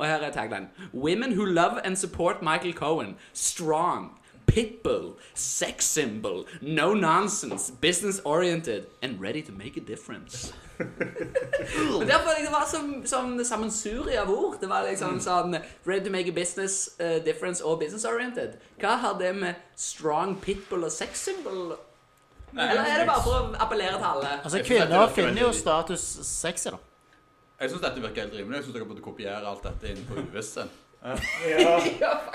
Speaker 1: og her er taglinen. Women who love and support Michael Cohen. Strong. Pitbull. Sex symbol. No nonsense. Business oriented. And ready to make a difference. Men derfor liksom, var det som, som det sammensuri av ord. Det var liksom sånn Ready to make a business eh, difference og business oriented. Hva har det med strong pitbull og sex symbol Eller er det bare for å appellere til alle?
Speaker 4: Altså,
Speaker 2: Jeg synes at det
Speaker 4: kvinner
Speaker 2: virker
Speaker 4: finner jo
Speaker 2: veldig-
Speaker 4: status sexy, da.
Speaker 2: Jeg syns dette virker helt rimelig. Jeg syns dere burde kopiere alt dette inn på UVS.
Speaker 5: Ja.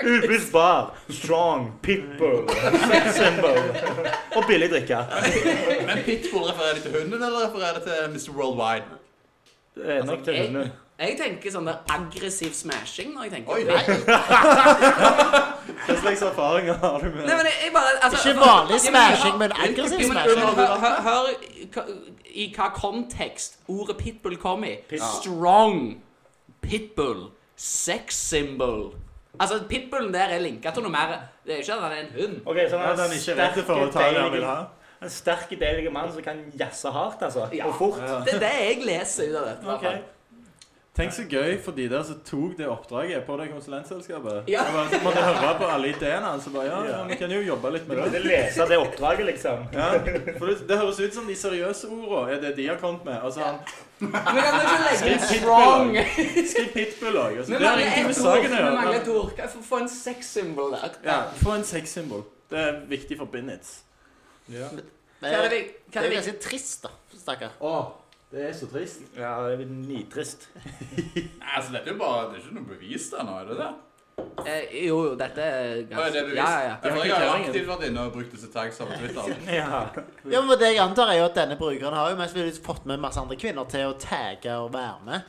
Speaker 5: Ubristbar, strong, pitbull, sex symbol og billig drikke.
Speaker 2: Men Pitbull, refererer det til hunden, eller refererer det til Mr. Worldwide?
Speaker 5: Det er nok til hundene.
Speaker 1: Jeg tenker sånn der aggressiv smashing når jeg tenker
Speaker 2: Oi,
Speaker 1: på det.
Speaker 2: nei.
Speaker 3: Hva slags erfaringer har du med
Speaker 1: Nei, men jeg, jeg bare, altså,
Speaker 4: Ikke vanlig
Speaker 1: Ja, men-
Speaker 4: smashing, men aggressiv
Speaker 1: Jo, men
Speaker 4: smashing.
Speaker 1: Hør, hør, hør, hør hva- i hva kontekst ordet pitbull kom i.
Speaker 5: Pit-
Speaker 1: Strong pitbull. Sex symbol. Altså, pitbullen der er linka til noe mer. Det er jo ikke at han er en hund.
Speaker 5: Ok, så
Speaker 3: At
Speaker 5: han
Speaker 3: han
Speaker 5: er en
Speaker 3: ikke vet
Speaker 5: sterk,
Speaker 3: det for å ta det han vil
Speaker 5: deilig-
Speaker 3: ha?
Speaker 5: En sterk, deilig mann som kan jazze hardt, altså.
Speaker 1: Ja.
Speaker 5: Og fort.
Speaker 1: Det er det jeg leser ut av dette. i hvert fall.
Speaker 5: Ok.
Speaker 3: Tenk så gøy for de der som tok det oppdraget på det konsulentselskapet.
Speaker 1: Ja.
Speaker 3: Jeg bare, så måtte høre på alle ideene hans. og bare, Ja, ja, vi kan jo jobbe litt
Speaker 5: Du
Speaker 3: med
Speaker 5: måtte
Speaker 3: det.
Speaker 5: lese det oppdraget, liksom.
Speaker 3: Ja, for det, det høres ut som de seriøse ordene er det de har kommet med. Og så han
Speaker 1: Men kan du ikke legge
Speaker 3: Skriv
Speaker 1: inn
Speaker 3: pitbull.
Speaker 1: strong?
Speaker 3: Skriv pitbull òg.
Speaker 1: Vi
Speaker 3: Det har
Speaker 1: mangler
Speaker 3: ingenting med
Speaker 1: ett
Speaker 3: saken å
Speaker 1: ord. Vi mangler et
Speaker 3: gjøre.
Speaker 1: ord. Hva- Få få en sex symbol der.
Speaker 3: Ja, Få en sexsymbol. Det er viktig for Binnits.
Speaker 1: Hva er det vi- hva
Speaker 4: Det er
Speaker 1: er
Speaker 4: jo
Speaker 1: det vi
Speaker 4: ganske trist, da. Stakkar.
Speaker 3: det er så trist.
Speaker 5: Ja, det er nitrist.
Speaker 2: Nei, altså, dette er jo bare Det er ikke noe bevis der nå, er det det?
Speaker 1: Eh, Jo, jo, dette er
Speaker 2: Å, er det
Speaker 1: ganske
Speaker 2: bevis?
Speaker 1: Ja, ja, ja.
Speaker 2: For jeg har jo aktivt vært inne og brukt disse tags på Twitter.
Speaker 5: Ja.
Speaker 4: Ja, men Det jeg antar, er jo at denne brukeren har jo mest mulig fått med masse andre kvinner til å tagge og være med.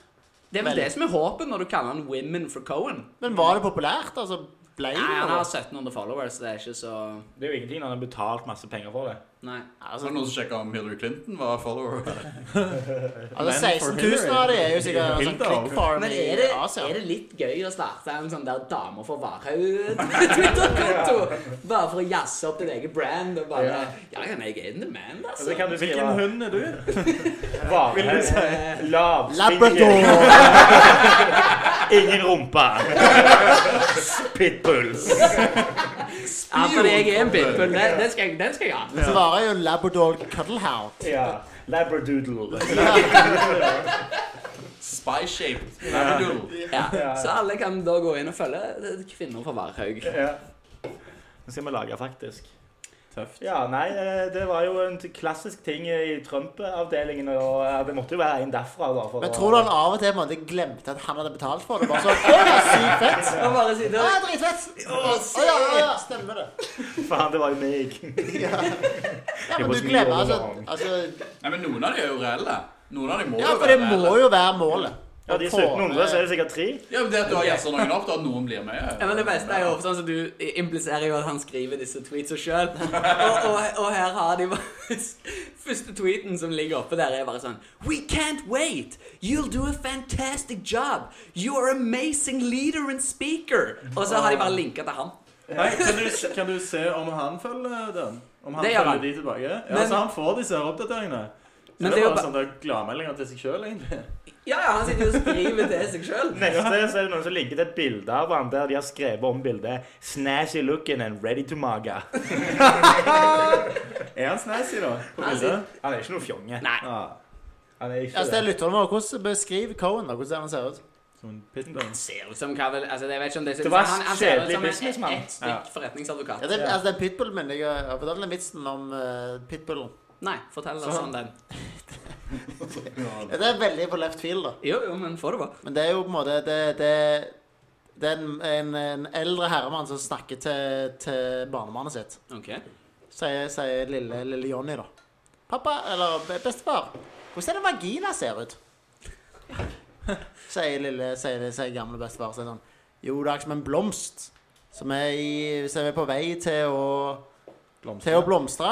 Speaker 1: Det er vel
Speaker 4: Veldig.
Speaker 1: det som er håpet når du kaller han Women for Cohen.
Speaker 4: Men var det populært? Altså, ble det
Speaker 1: Nei, han altså- har
Speaker 4: noe?
Speaker 1: 1700 followers, så det er ikke så
Speaker 5: Det er jo ingenting når han har betalt masse penger for det.
Speaker 1: Nei.
Speaker 2: Så er det
Speaker 4: Altså,
Speaker 2: noen som sjekker om Hillary Clinton var follower.
Speaker 4: altså 16 000 av det er jo sikkert sånn
Speaker 3: Hilda.
Speaker 4: click farm
Speaker 1: Men
Speaker 4: i
Speaker 1: er det,
Speaker 4: Asia.
Speaker 1: er det litt gøy å starte en sånn der Damer for <laughs> Varhaug-Twitter-konto? Bare for å jazze opp ditt eget brand og bare Ja, ja, men jeg er in the man,
Speaker 5: Og så
Speaker 1: altså.
Speaker 5: kan du
Speaker 3: Hvilken
Speaker 5: skrive
Speaker 3: hund er du? Vil du
Speaker 5: varehøy,
Speaker 3: si?
Speaker 5: Eh, lav,
Speaker 4: Labrador!
Speaker 5: <laughs> ingen <laughs> rumpe. Pitbull.
Speaker 1: Ja, fordi jeg er en pitbull. Den, den, skal, jeg- den skal jeg ha.
Speaker 4: Så var det jo Labrador Cuddlehound.
Speaker 5: Ja. Labradoodle.
Speaker 2: Spy-shaped. Labradoodle.
Speaker 1: Ja. Så alle kan da gå inn og følge Kvinner for Varhaug.
Speaker 5: Ja. Nå skal vi lage, faktisk.
Speaker 3: Tøft.
Speaker 5: Ja, nei, eh, det var jo en t- klassisk ting i Trump-avdelingen, og eh, det måtte jo være en derfra, da. For
Speaker 4: Men
Speaker 5: å-
Speaker 4: tror du han av og til på en måte glemte at han hadde betalt for det? Bare sånn, «Å, det er sykt fett!
Speaker 1: Og bare si
Speaker 4: Å,
Speaker 1: det.
Speaker 4: det er dritfett! Å, ja, ja, ja, stemmer det.
Speaker 5: <laughs> Faen, det var jo meg. <laughs>
Speaker 4: Ja, men du glemmer altså, altså
Speaker 2: Nei, men noen av de er jo reelle. Noen av de må
Speaker 4: Ja,
Speaker 2: jo
Speaker 4: for det
Speaker 2: være
Speaker 4: må
Speaker 2: reelle.
Speaker 4: jo være målet.
Speaker 5: Ja, de 1700, så er det sikkert tre.
Speaker 2: Ja, men Det at du har gjessa noen opp, da at noen blir med.
Speaker 1: Ja, men det beste er jo ofte sånn som du impliserer jo at han skriver disse tweetsa sjøl. Og, og, og her har de bare Første tweeten som ligger oppe der, er bare sånn We can't wait! You'll do a fantastic job! You are amazing leader and speaker! Og så har de bare linka til han.
Speaker 3: Nei, kan du, kan du se om han følger den? Om han
Speaker 1: Det gjør
Speaker 3: følger
Speaker 1: han.
Speaker 3: de tilbake? Ja,
Speaker 1: Men-
Speaker 3: så han får disse her oppdateringene. Så
Speaker 1: Men
Speaker 3: det
Speaker 1: det er
Speaker 3: er
Speaker 1: jo
Speaker 3: bare
Speaker 1: ba-
Speaker 3: sånn der gladmeldinger til seg sjøl,
Speaker 1: <laughs>
Speaker 3: egentlig.
Speaker 1: Ja, ja, han sitter jo og skriver til seg sjøl.
Speaker 5: Neste så er det noen som linker til et bilde av han der de har skrevet om bildet 'Snazzy looking and ready to maga'.
Speaker 3: Er han snazzy, da? På
Speaker 1: Han
Speaker 3: bildet?
Speaker 5: Han er ikke noe fjonge.
Speaker 1: Nei.
Speaker 3: Ah,
Speaker 5: Han er
Speaker 4: Ja,
Speaker 5: ikke
Speaker 4: så det er lytterne våre. Hvordan beskriv Cohen, da? Hvordan han ser ut?
Speaker 3: som en pitbull.
Speaker 1: Ser ut som hva vel Altså, jeg vet ikke om det
Speaker 5: Det var
Speaker 1: han, han ser ut
Speaker 5: kjedelig
Speaker 1: som en-
Speaker 5: businessman.
Speaker 1: et stykk
Speaker 4: Ja,
Speaker 1: forretningsadvokat.
Speaker 4: det,
Speaker 5: Ja.
Speaker 4: altså, den pitbullen min Jeg har fortalt den vitsen om eh, pitbullen.
Speaker 1: Nei, fortell oss om den.
Speaker 4: Ja, det er veldig på left field, da.
Speaker 1: Jo, jo, men få det bra.
Speaker 4: Men det er jo på en måte Det, det, det er en, en, en eldre herremann som snakker til, til barnebarnet sitt.
Speaker 1: OK.
Speaker 4: Sier, sier lille, lille Jonny, da. Pappa, eller be- bestefar, hvordan er det vagina ser ut? <laughs> Sier lille, sier, sier gamle bestefar sier sånn Jo, det er som en blomst som er, i, som er på vei til å, til å blomstre.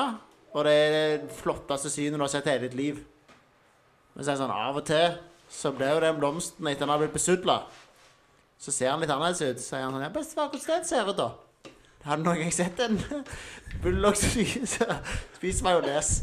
Speaker 4: Og det er det flotteste synet du har sett i hele ditt liv. Men så er det sånn, av og til så ble jo den blomsten etter den har blitt besudla. Så ser han litt annerledes ut. Så sier han sånn Ja, bestefar, hvordan den ser ut, da? Har du noen gang sett en <laughs> bulldog som spiser spiser majones?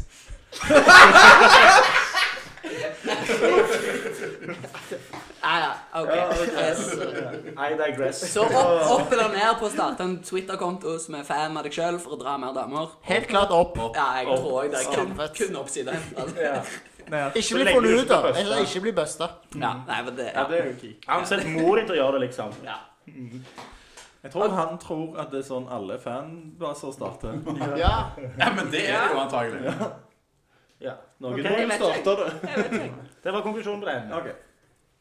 Speaker 1: Ja, ja, OK. Yes.
Speaker 5: I digress.
Speaker 1: Så opp, opp eller ned på å starte en Twitter-konto som er fan av deg sjøl, for å dra mer damer?
Speaker 4: Helt klart opp.
Speaker 1: Ja, jeg
Speaker 5: Opp.
Speaker 1: tror jeg det er kun,
Speaker 4: Opp.
Speaker 1: kun oppside. Altså.
Speaker 5: Ja.
Speaker 4: Ikke
Speaker 5: Så
Speaker 4: bli
Speaker 5: lenge du
Speaker 4: funnet
Speaker 5: ikke
Speaker 4: ut, da.
Speaker 5: blir busta.
Speaker 4: Eller ikke bli busta.
Speaker 1: Ja, nei, men det
Speaker 3: Ja,
Speaker 1: ja.
Speaker 3: det er jo key.
Speaker 5: Han har sett mor di til å gjøre det, liksom.
Speaker 1: Ja.
Speaker 3: Jeg tror han tror at det er sånn alle fanbaser starter.
Speaker 4: Ja.
Speaker 2: Ja, men det er det jo antagelig.
Speaker 5: Ja.
Speaker 3: Noen
Speaker 5: Ok,
Speaker 3: tror
Speaker 1: jeg
Speaker 3: du
Speaker 1: vet
Speaker 3: starter det.
Speaker 1: Jeg vet ikke.
Speaker 5: Det var konklusjonen på den.
Speaker 3: Ok.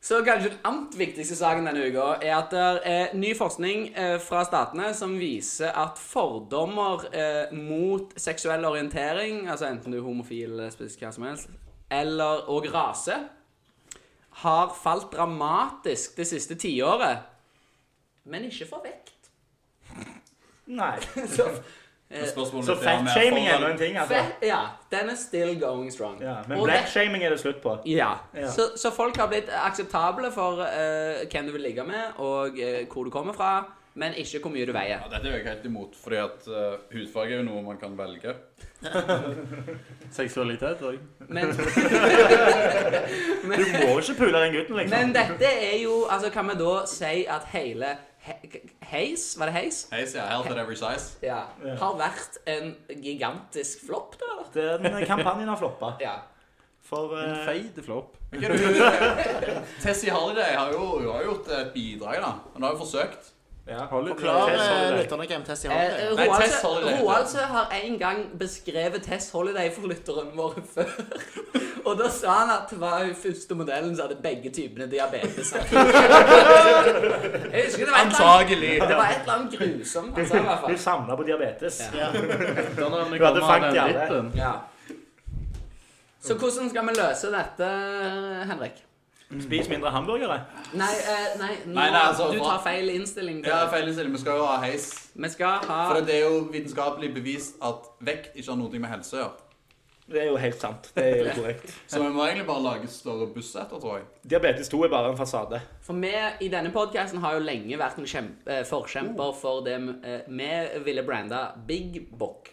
Speaker 1: Så kanskje den annet viktigste saken denne uka er at det er ny forskning eh, fra statene som viser at fordommer eh, mot seksuell orientering, altså enten du er homofil eller lesbisk, hva som helst, eller og rase, har falt dramatisk det siste tiåret. Men ikke for vekt.
Speaker 3: <laughs>
Speaker 5: Nei.
Speaker 1: Så, eh,
Speaker 5: Så fatshaming er nå en ting, altså.
Speaker 1: fe- ja, den er still going strong.
Speaker 5: Ja, men
Speaker 1: Og det-
Speaker 5: blackshaming er det slutt på.
Speaker 1: Ja.
Speaker 5: Ja.
Speaker 1: Så, så folk har blitt akseptable for eh, hvem du vil ligge med, og eh, hvor du kommer fra, men ikke hvor mye du veier.
Speaker 2: Ja, dette er jeg helt imot, fordi at eh, hudfarge er jo noe man kan velge.
Speaker 3: Seksualitet òg.
Speaker 5: <laughs>
Speaker 1: Men,
Speaker 5: Du må ikke pule den gutten,
Speaker 1: men
Speaker 5: liksom.
Speaker 1: dette er jo Altså, kan vi da si at hele he, Heis? Var det heis?
Speaker 2: Hei, sier jeg. Health at every size.
Speaker 1: Ja.
Speaker 5: Ja.
Speaker 1: Har vært en gigantisk flopp, da, eller?
Speaker 5: Den kampanjen har floppa.
Speaker 1: Ja.
Speaker 5: For
Speaker 3: En
Speaker 5: eh,
Speaker 3: feit flopp.
Speaker 2: Men hva er det- Tessie Holiday har jo, hun har gjort et bidrag, da. Hun har jo forsøkt.
Speaker 5: ja,
Speaker 3: Hollywood.
Speaker 4: Klar,
Speaker 5: Tess
Speaker 4: eh,
Speaker 5: Holiday.
Speaker 4: lytterne hvem Tessie har
Speaker 1: Eh,
Speaker 4: til.
Speaker 2: Nei, Tess Holiday.
Speaker 1: Roaldsø har en gang beskrevet Tess Holiday for lytteren vår <laughs> før. Og da sa han at det var hun første modellen som hadde begge typene
Speaker 2: <laughs>
Speaker 1: diabetes. Jeg husker det var et eller annet,
Speaker 2: Antagelig.
Speaker 1: det var et eller annet grusomt han sa i hvert
Speaker 5: Hun
Speaker 1: fall.
Speaker 5: samla på diabetes.
Speaker 1: Ja.
Speaker 4: Ja.
Speaker 3: Den har vi
Speaker 5: Du hadde
Speaker 3: kommet
Speaker 5: fangt
Speaker 3: med
Speaker 5: i
Speaker 3: den
Speaker 5: alle.
Speaker 3: dritten.
Speaker 1: Ja. Så hvordan skal vi løse dette, Henrik?
Speaker 5: Spis mindre hamburgere.
Speaker 1: Nei, eh, nei, nå,
Speaker 2: Nei, nei, altså,
Speaker 1: du
Speaker 2: hva-
Speaker 1: tar feil innstilling. til
Speaker 2: Ja,
Speaker 1: det.
Speaker 2: feil innstilling. Vi skal jo ha heis.
Speaker 1: Vi skal ha
Speaker 2: For det er jo vitenskapelig bevist at vekt ikke har noe med helse å gjøre.
Speaker 5: Det er jo helt sant. Det er jo korrekt.
Speaker 2: Så vi må egentlig bare lage større busseter, tror jeg.
Speaker 5: Diabetes 2 er bare en fasade.
Speaker 1: For vi i denne podcasten har jo lenge vært en kjemp- eh,
Speaker 2: Mm.
Speaker 1: forkjemper for det eh, vi ville brande Big Bock.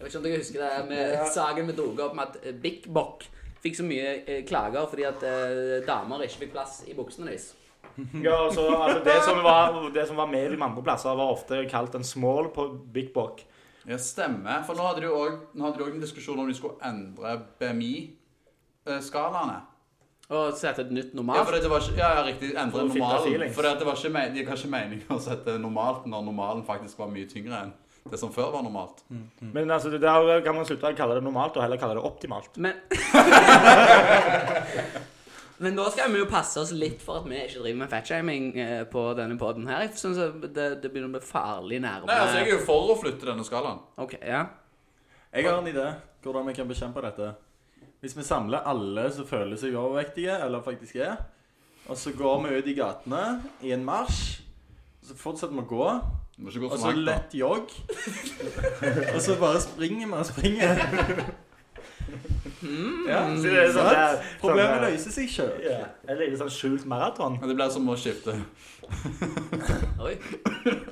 Speaker 1: Jeg vet ikke om dere husker det med
Speaker 5: Ja.
Speaker 1: saken vi dro opp med at eh, Big Bock fikk så mye eh, klager fordi at eh, damer ikke fikk plass i buksene deres.
Speaker 5: Ja, og så, altså, det, som var, det som var med i de andre plasser, var ofte kalt en small på Big Bock.
Speaker 2: Ja, stemmer. For nå hadde de jo også- nå hadde de òg en diskusjon om de skulle endre BMI-skalaene.
Speaker 1: Og sette et nytt
Speaker 2: Ja,
Speaker 1: normalt.
Speaker 2: for det var ikke, ja, ja, riktig.
Speaker 5: For
Speaker 2: Endre
Speaker 5: å fitte
Speaker 2: normalen.
Speaker 5: feelings.
Speaker 2: For det var ikke, me- de har ikke mening å sette normalt når normalen faktisk var mye tyngre enn det som før var normalt.
Speaker 3: Mm.
Speaker 5: Men altså, det der kan man slutte å kalle det normalt, og heller kalle det optimalt.
Speaker 1: Men <laughs> Men nå skal vi jo passe oss litt for at vi ikke driver med fatshaming eh, på denne podden her. Jeg synes at det, det begynner å bli farlig nærme.
Speaker 2: Nei, altså, Jeg er jo for å flytte denne skalaen.
Speaker 1: Ok, ja.
Speaker 3: Jeg har en idé hvordan vi kan bekjempe dette. Hvis vi samler alle som føler seg overvektige, eller faktisk er, og så går vi ut i gatene i en marsj, så fortsetter vi å gå,
Speaker 2: Det må ikke gå
Speaker 3: og
Speaker 2: så
Speaker 3: så
Speaker 2: langt, da.
Speaker 3: lett jogg, <laughs> og så bare springer vi og springer.
Speaker 1: Mm.
Speaker 3: Ja,
Speaker 5: Så det er sånn der-
Speaker 3: sant? Mm. Problemet
Speaker 5: sånn, eh,
Speaker 3: løser seg sjøl.
Speaker 5: Ja. Eller litt sånn skjult maraton.
Speaker 2: Men det blir som å skifte.
Speaker 1: Oi.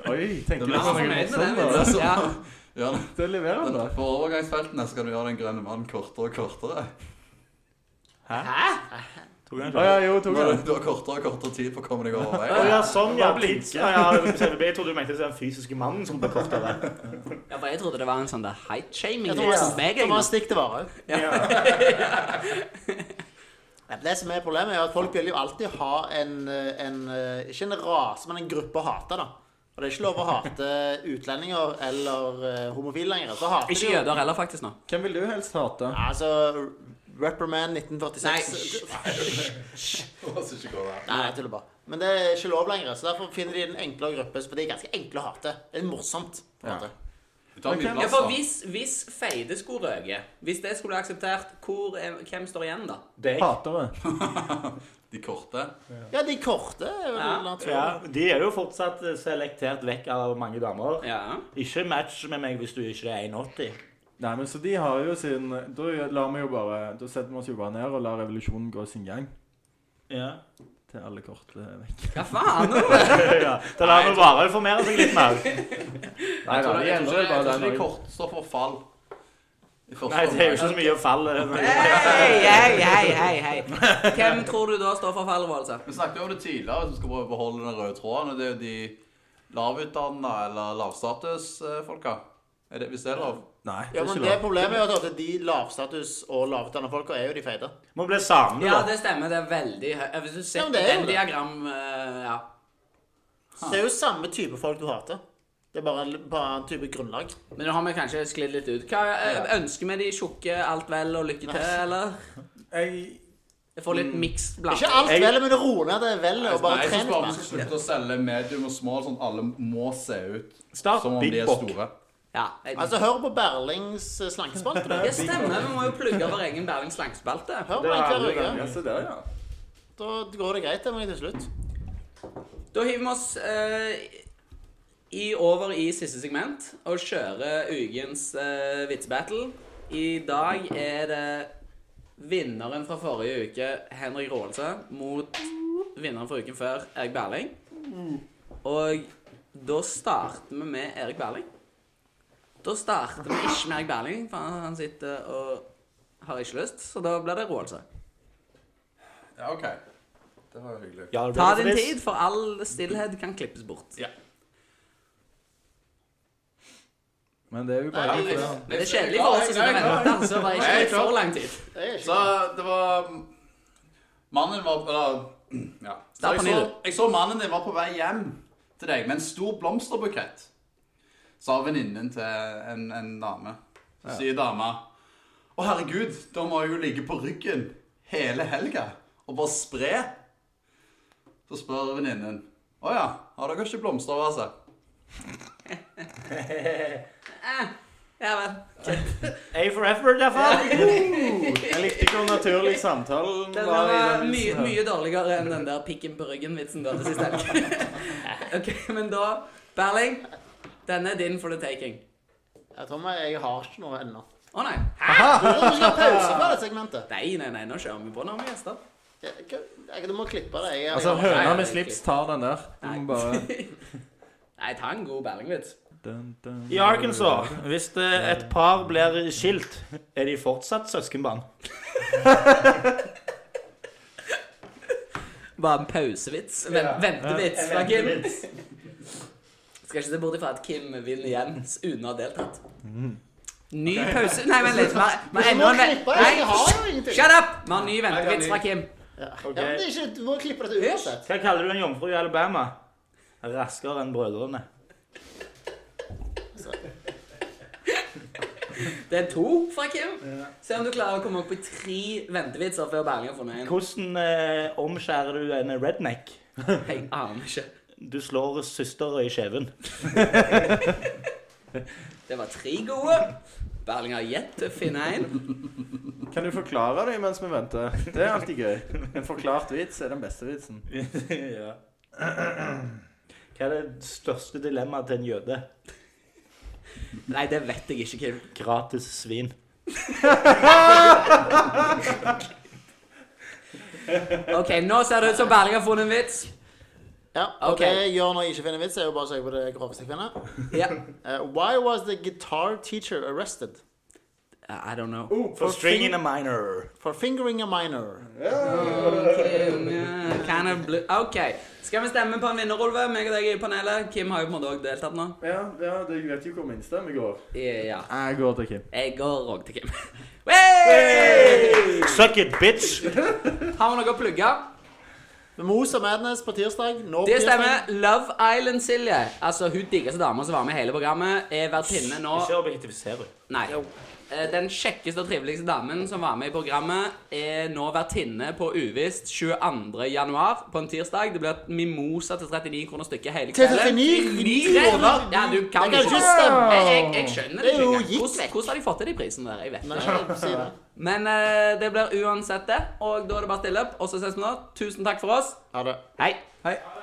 Speaker 3: Oi, tenker du
Speaker 2: Det ble
Speaker 3: på
Speaker 2: sånn
Speaker 3: noe
Speaker 1: fornøyd med den,
Speaker 3: morsomt? da?
Speaker 1: liksom. Ja.
Speaker 2: Ja,
Speaker 3: Det leverer han, da.
Speaker 2: På overgangsfeltene skal du gjøre den grønne mannen kortere og kortere.
Speaker 1: Hæ?
Speaker 5: Tok jeg
Speaker 3: Å
Speaker 5: en kjapp?
Speaker 3: ja, jo,
Speaker 2: Du
Speaker 3: tok
Speaker 2: har,
Speaker 3: han.
Speaker 2: du har kortere og kortere tid på å komme deg over
Speaker 5: Å
Speaker 2: veien.
Speaker 5: ja, sånn, ja.
Speaker 3: Bare blinke.
Speaker 5: Tids, ja, ja CVB, jeg trodde du mente det var den fysiske mannen som ble kortere.
Speaker 3: <laughs>
Speaker 1: Ja, for jeg trodde det var en sånn der height-shaming.
Speaker 4: Jeg
Speaker 1: Det
Speaker 4: tror
Speaker 1: er
Speaker 4: det
Speaker 1: som meg,
Speaker 4: det var en
Speaker 1: egentlig.
Speaker 4: stikk til vare.
Speaker 5: Ja.
Speaker 4: Nei, men Det som er problemet, er at folk vil jo alltid ha en, eh, en eh, Ikke en rase, men en gruppe å hate, da. Og det er ikke lov å hate utlendinger eller eh, homofile lenger. Så hater
Speaker 1: Ikke
Speaker 4: de jo-
Speaker 1: jøder heller, faktisk, nå.
Speaker 3: Hvem vil du helst hate?
Speaker 4: Altså, Repperman 1946
Speaker 1: Nei,
Speaker 2: La oss ikke gå der.
Speaker 4: Nei, jeg tuller bare. Men det er ikke lov lenger, så derfor finner de en enklere gruppe. For de er ganske enkle å hate. Det er morsomt. på en
Speaker 3: Ja.
Speaker 4: måte.
Speaker 2: Du tar
Speaker 3: Men
Speaker 2: mye
Speaker 3: hvem-
Speaker 1: Ja,
Speaker 2: plass,
Speaker 1: for
Speaker 2: da.
Speaker 1: hvis, hvis feide skulle røke, hvis det skulle bli akseptert, hvor, er- hvem står igjen da?
Speaker 5: Deg.
Speaker 3: Hatere.
Speaker 2: De korte.
Speaker 4: Ja, de korte er vel
Speaker 1: Ja.
Speaker 4: naturlig.
Speaker 5: Ja, de er jo fortsatt eh, selektert vekk av mange damer.
Speaker 1: Ja.
Speaker 5: Ikke match med meg hvis du ikke er 1,80.
Speaker 3: Nei, men så de har jo sin Da lar vi jo bare Da setter vi oss jo bare ned og lar revolusjonen gå sin gang.
Speaker 5: Ja. <laughs>
Speaker 3: Til alle korte er vekk.
Speaker 1: Hva faen? nå?
Speaker 5: ja. Da lar vi bare informere seg litt mer.
Speaker 3: Nei,
Speaker 2: Jeg tror
Speaker 3: de
Speaker 2: jeg tror
Speaker 3: endrer
Speaker 2: ikke-
Speaker 3: bare
Speaker 2: jeg tror
Speaker 3: den
Speaker 2: ikke de
Speaker 3: også.
Speaker 2: korte står for fall. I første
Speaker 5: Nei, det er jo ikke
Speaker 2: omgang.
Speaker 5: så mye å falle
Speaker 1: Hei, hei, hei, hei, hei. Hvem tror du da står for fallrøvelse?
Speaker 2: Vi snakket jo om det tidligere, at vi skal prøve å beholde den røde tråden. og Det er jo de lavutdannede eller lavstatusfolka. Er det, hvis det er lov?
Speaker 3: Nei, det
Speaker 4: Ja,
Speaker 3: er
Speaker 4: men
Speaker 3: ikke
Speaker 4: det
Speaker 3: lov.
Speaker 4: problemet er jo at de lavstatus og lavutdanna folka er jo de feite.
Speaker 5: Må bli samlet,
Speaker 1: Ja,
Speaker 5: da.
Speaker 1: det stemmer. Det er veldig høy. Hvis du
Speaker 4: Ja,
Speaker 1: ser
Speaker 4: men det er jo
Speaker 1: den
Speaker 4: det.
Speaker 1: diagram, eh, ja.
Speaker 4: Så Det er jo samme type folk du hater. Det er bare en, bare en type grunnlag.
Speaker 1: Men nå har vi kanskje sklidd litt ut. Hva eh, ønsker vi de tjukke alt vel og lykke til, eller?
Speaker 3: Jeg
Speaker 1: Jeg får litt mixed
Speaker 4: Ikke
Speaker 1: blanding.
Speaker 4: alt vel, men ro ned det vellet og bare
Speaker 2: Nei, jeg
Speaker 4: tren
Speaker 2: synes
Speaker 4: litt
Speaker 2: bare vi skal
Speaker 4: mer.
Speaker 2: slutte å selge medium og small, sånn at alle må se ut
Speaker 5: Start
Speaker 2: som om
Speaker 5: Big
Speaker 2: de er
Speaker 5: Bock.
Speaker 2: store.
Speaker 1: Ja, jeg,
Speaker 4: Altså, hør på Berlings eh, slankespalte. da.
Speaker 1: det stemmer. Vi må jo plugge vår egen Berling slangspalte.
Speaker 4: Hør på
Speaker 5: Det
Speaker 4: den
Speaker 5: har
Speaker 4: hver
Speaker 5: jeg aldri
Speaker 3: Ja,
Speaker 4: uke.
Speaker 3: se der, ja.
Speaker 4: Da går det greit det meg til slutt.
Speaker 1: Da hiver vi oss eh, i, over i siste segment og kjører ukens eh, vitsebattle. I dag er det vinneren fra forrige uke, Henrik Råelse, mot vinneren fra uken før, Erik Berling. Og da starter vi med Erik Berling. Da starter vi ikke med Erik Berling, for han, han sitter og har ikke lyst, så da blir det Råelse.
Speaker 2: Ja, OK. Det var jo hyggelig.
Speaker 5: Ja, det
Speaker 1: Ta
Speaker 5: blir
Speaker 1: din
Speaker 5: trist.
Speaker 1: tid, for all stillhet kan klippes bort.
Speaker 2: Ja.
Speaker 3: Men det er jo
Speaker 4: Nei,
Speaker 3: bare
Speaker 4: det er
Speaker 3: ja.
Speaker 1: Men det er kjedelig for oss som skal vente, så det er ikke
Speaker 2: Nei,
Speaker 1: litt
Speaker 2: klart.
Speaker 1: for lang tid.
Speaker 4: Det er
Speaker 2: Så
Speaker 4: ikke
Speaker 2: det var Mannen var eller, ja. så
Speaker 1: Start
Speaker 2: jeg,
Speaker 1: på
Speaker 2: så,
Speaker 1: nytt.
Speaker 2: jeg så mannen din var på vei hjem til deg med en stor blomsterbukett, sa venninnen til en, en dame. Så sier dama Å, herregud, da må jeg jo ligge på ryggen hele helga og bare spre. Så spør venninnen Å ja, har dere ikke blomster over seg?
Speaker 1: Ja vel.
Speaker 5: A for effort, iallfall.
Speaker 3: Jeg likte ikke hvor naturlig samtalen
Speaker 1: Den
Speaker 3: var i
Speaker 1: var
Speaker 3: den
Speaker 1: mye,
Speaker 3: vitsen her.
Speaker 1: mye dårligere enn den der pikken på ryggen-vitsen du hadde sist
Speaker 2: <laughs>
Speaker 1: helg. OK, men da Berling, denne er din for the taking.
Speaker 4: Jeg tror meg, jeg har ikke noe ennå.
Speaker 1: Å nei.
Speaker 4: Tror du vi skal ha pause på det segmentet?
Speaker 1: Nei, nei, nei, nå kjører vi på når vi har gjester.
Speaker 4: Jeg, jeg, du må klippe det. Jeg,
Speaker 3: Altså,
Speaker 4: jeg,
Speaker 1: Nei,
Speaker 3: høna
Speaker 1: det
Speaker 3: med
Speaker 1: er
Speaker 3: slips
Speaker 1: ikke-
Speaker 3: tar den der. Du må
Speaker 1: <laughs>
Speaker 3: bare
Speaker 1: Nei, ta en god Berling-vits.
Speaker 3: dun, dun.
Speaker 5: I Arkansas, hvis det et par blir skilt, er de fortsatt søskenbarn?
Speaker 1: Bare en pausevits. Ven-
Speaker 2: Ja.
Speaker 1: Ventevits fra Kim. Skal ikke se bort ifra at Kim vinner igjen uten å ha deltatt. Ny pause Nei, vent litt. Vi- vi har
Speaker 4: jeg
Speaker 1: enda
Speaker 4: må
Speaker 1: en ven-
Speaker 4: klippe det. Jeg har
Speaker 1: Nei,
Speaker 4: jo ingenting.
Speaker 1: shut up! Vi har ny ventevits fra Kim.
Speaker 4: Ja, ja, men det er ikke, du må klippe det til uansett.
Speaker 5: Hva kaller du en jomfru i Alabama? Raskere enn brødrene.
Speaker 1: Det er to fra Kim. Se om du klarer å komme opp i tre ventevitser før Berling har funnet en.
Speaker 5: Hvordan eh, omskjærer du en redneck?
Speaker 1: Jeg aner ikke.
Speaker 5: Du slår søstera i
Speaker 2: <laughs>
Speaker 5: kjeven.
Speaker 1: Det var tre gode. Berling har gjett til å finne en.
Speaker 3: Kan du forklare det mens vi venter? Det er alltid gøy. En forklart vits er den beste vitsen.
Speaker 5: ja. Hva er det største dilemmaet til en jøde?
Speaker 1: Nei, det vet jeg ikke, Kim.
Speaker 5: Gratis svin.
Speaker 1: OK, nå ser det ut som Berling har funnet en vits.
Speaker 4: Ja,
Speaker 1: Ok.
Speaker 4: ok, jeg gjør når jeg ikke finner vits, er jo bare å søke på det groveste jeg finner.
Speaker 1: Ja.
Speaker 4: Eh, why was the guitar teacher arrested?
Speaker 1: I don't know.
Speaker 5: For string in a minor.
Speaker 4: For fingering a minor.
Speaker 1: Kim, ja, kind of blue. OK. Skal vi stemme på en vinner, Olve? Meg og deg i panelet. Kim har jo på en måte også deltatt nå.
Speaker 3: Ja, ja det, jeg vet jo hvor min stemme går.
Speaker 1: Eh, Ja.
Speaker 3: Jeg går til Kim.
Speaker 1: Jeg går òg til Kim. <laughs> Hey!
Speaker 5: Suck it, bitch!
Speaker 1: Har vi noe å plugge?
Speaker 4: Mos og Madness på tirsdag. Nå på
Speaker 1: Det
Speaker 4: tirsdag.
Speaker 1: stemmer. Love Island Silje. Altså, Hun diggeste dama som var med i hele programmet, er vertinne nå
Speaker 5: Ikke objektifiser henne.
Speaker 1: Nei. Eh, Den kjekkeste og triveligste damen som var med i programmet, er nå vertinne på Uvisst 22. januar på en tirsdag. Det blir et mimosa til 39 kroner stykket hele
Speaker 4: Til
Speaker 1: kvelden.
Speaker 4: 39
Speaker 1: Rett-
Speaker 4: kroner?
Speaker 1: Ja, du kan
Speaker 4: Det kan
Speaker 1: ikke
Speaker 4: ikke stemme.
Speaker 1: Jeg, jeg, jeg skjønner det
Speaker 4: Det er
Speaker 1: ikke.
Speaker 4: jo
Speaker 1: engang.
Speaker 4: gitt
Speaker 1: Hvordan,
Speaker 4: vekk.
Speaker 1: hvordan har de fått til de prisene der? Jeg vet
Speaker 4: Nei,
Speaker 1: ikke.
Speaker 4: si det.
Speaker 1: Men eh, det blir uansett det. Og da er det bare å stille opp. Og så ses vi nå. Tusen takk for oss.
Speaker 4: Ha det.
Speaker 1: Hei.
Speaker 3: Hei.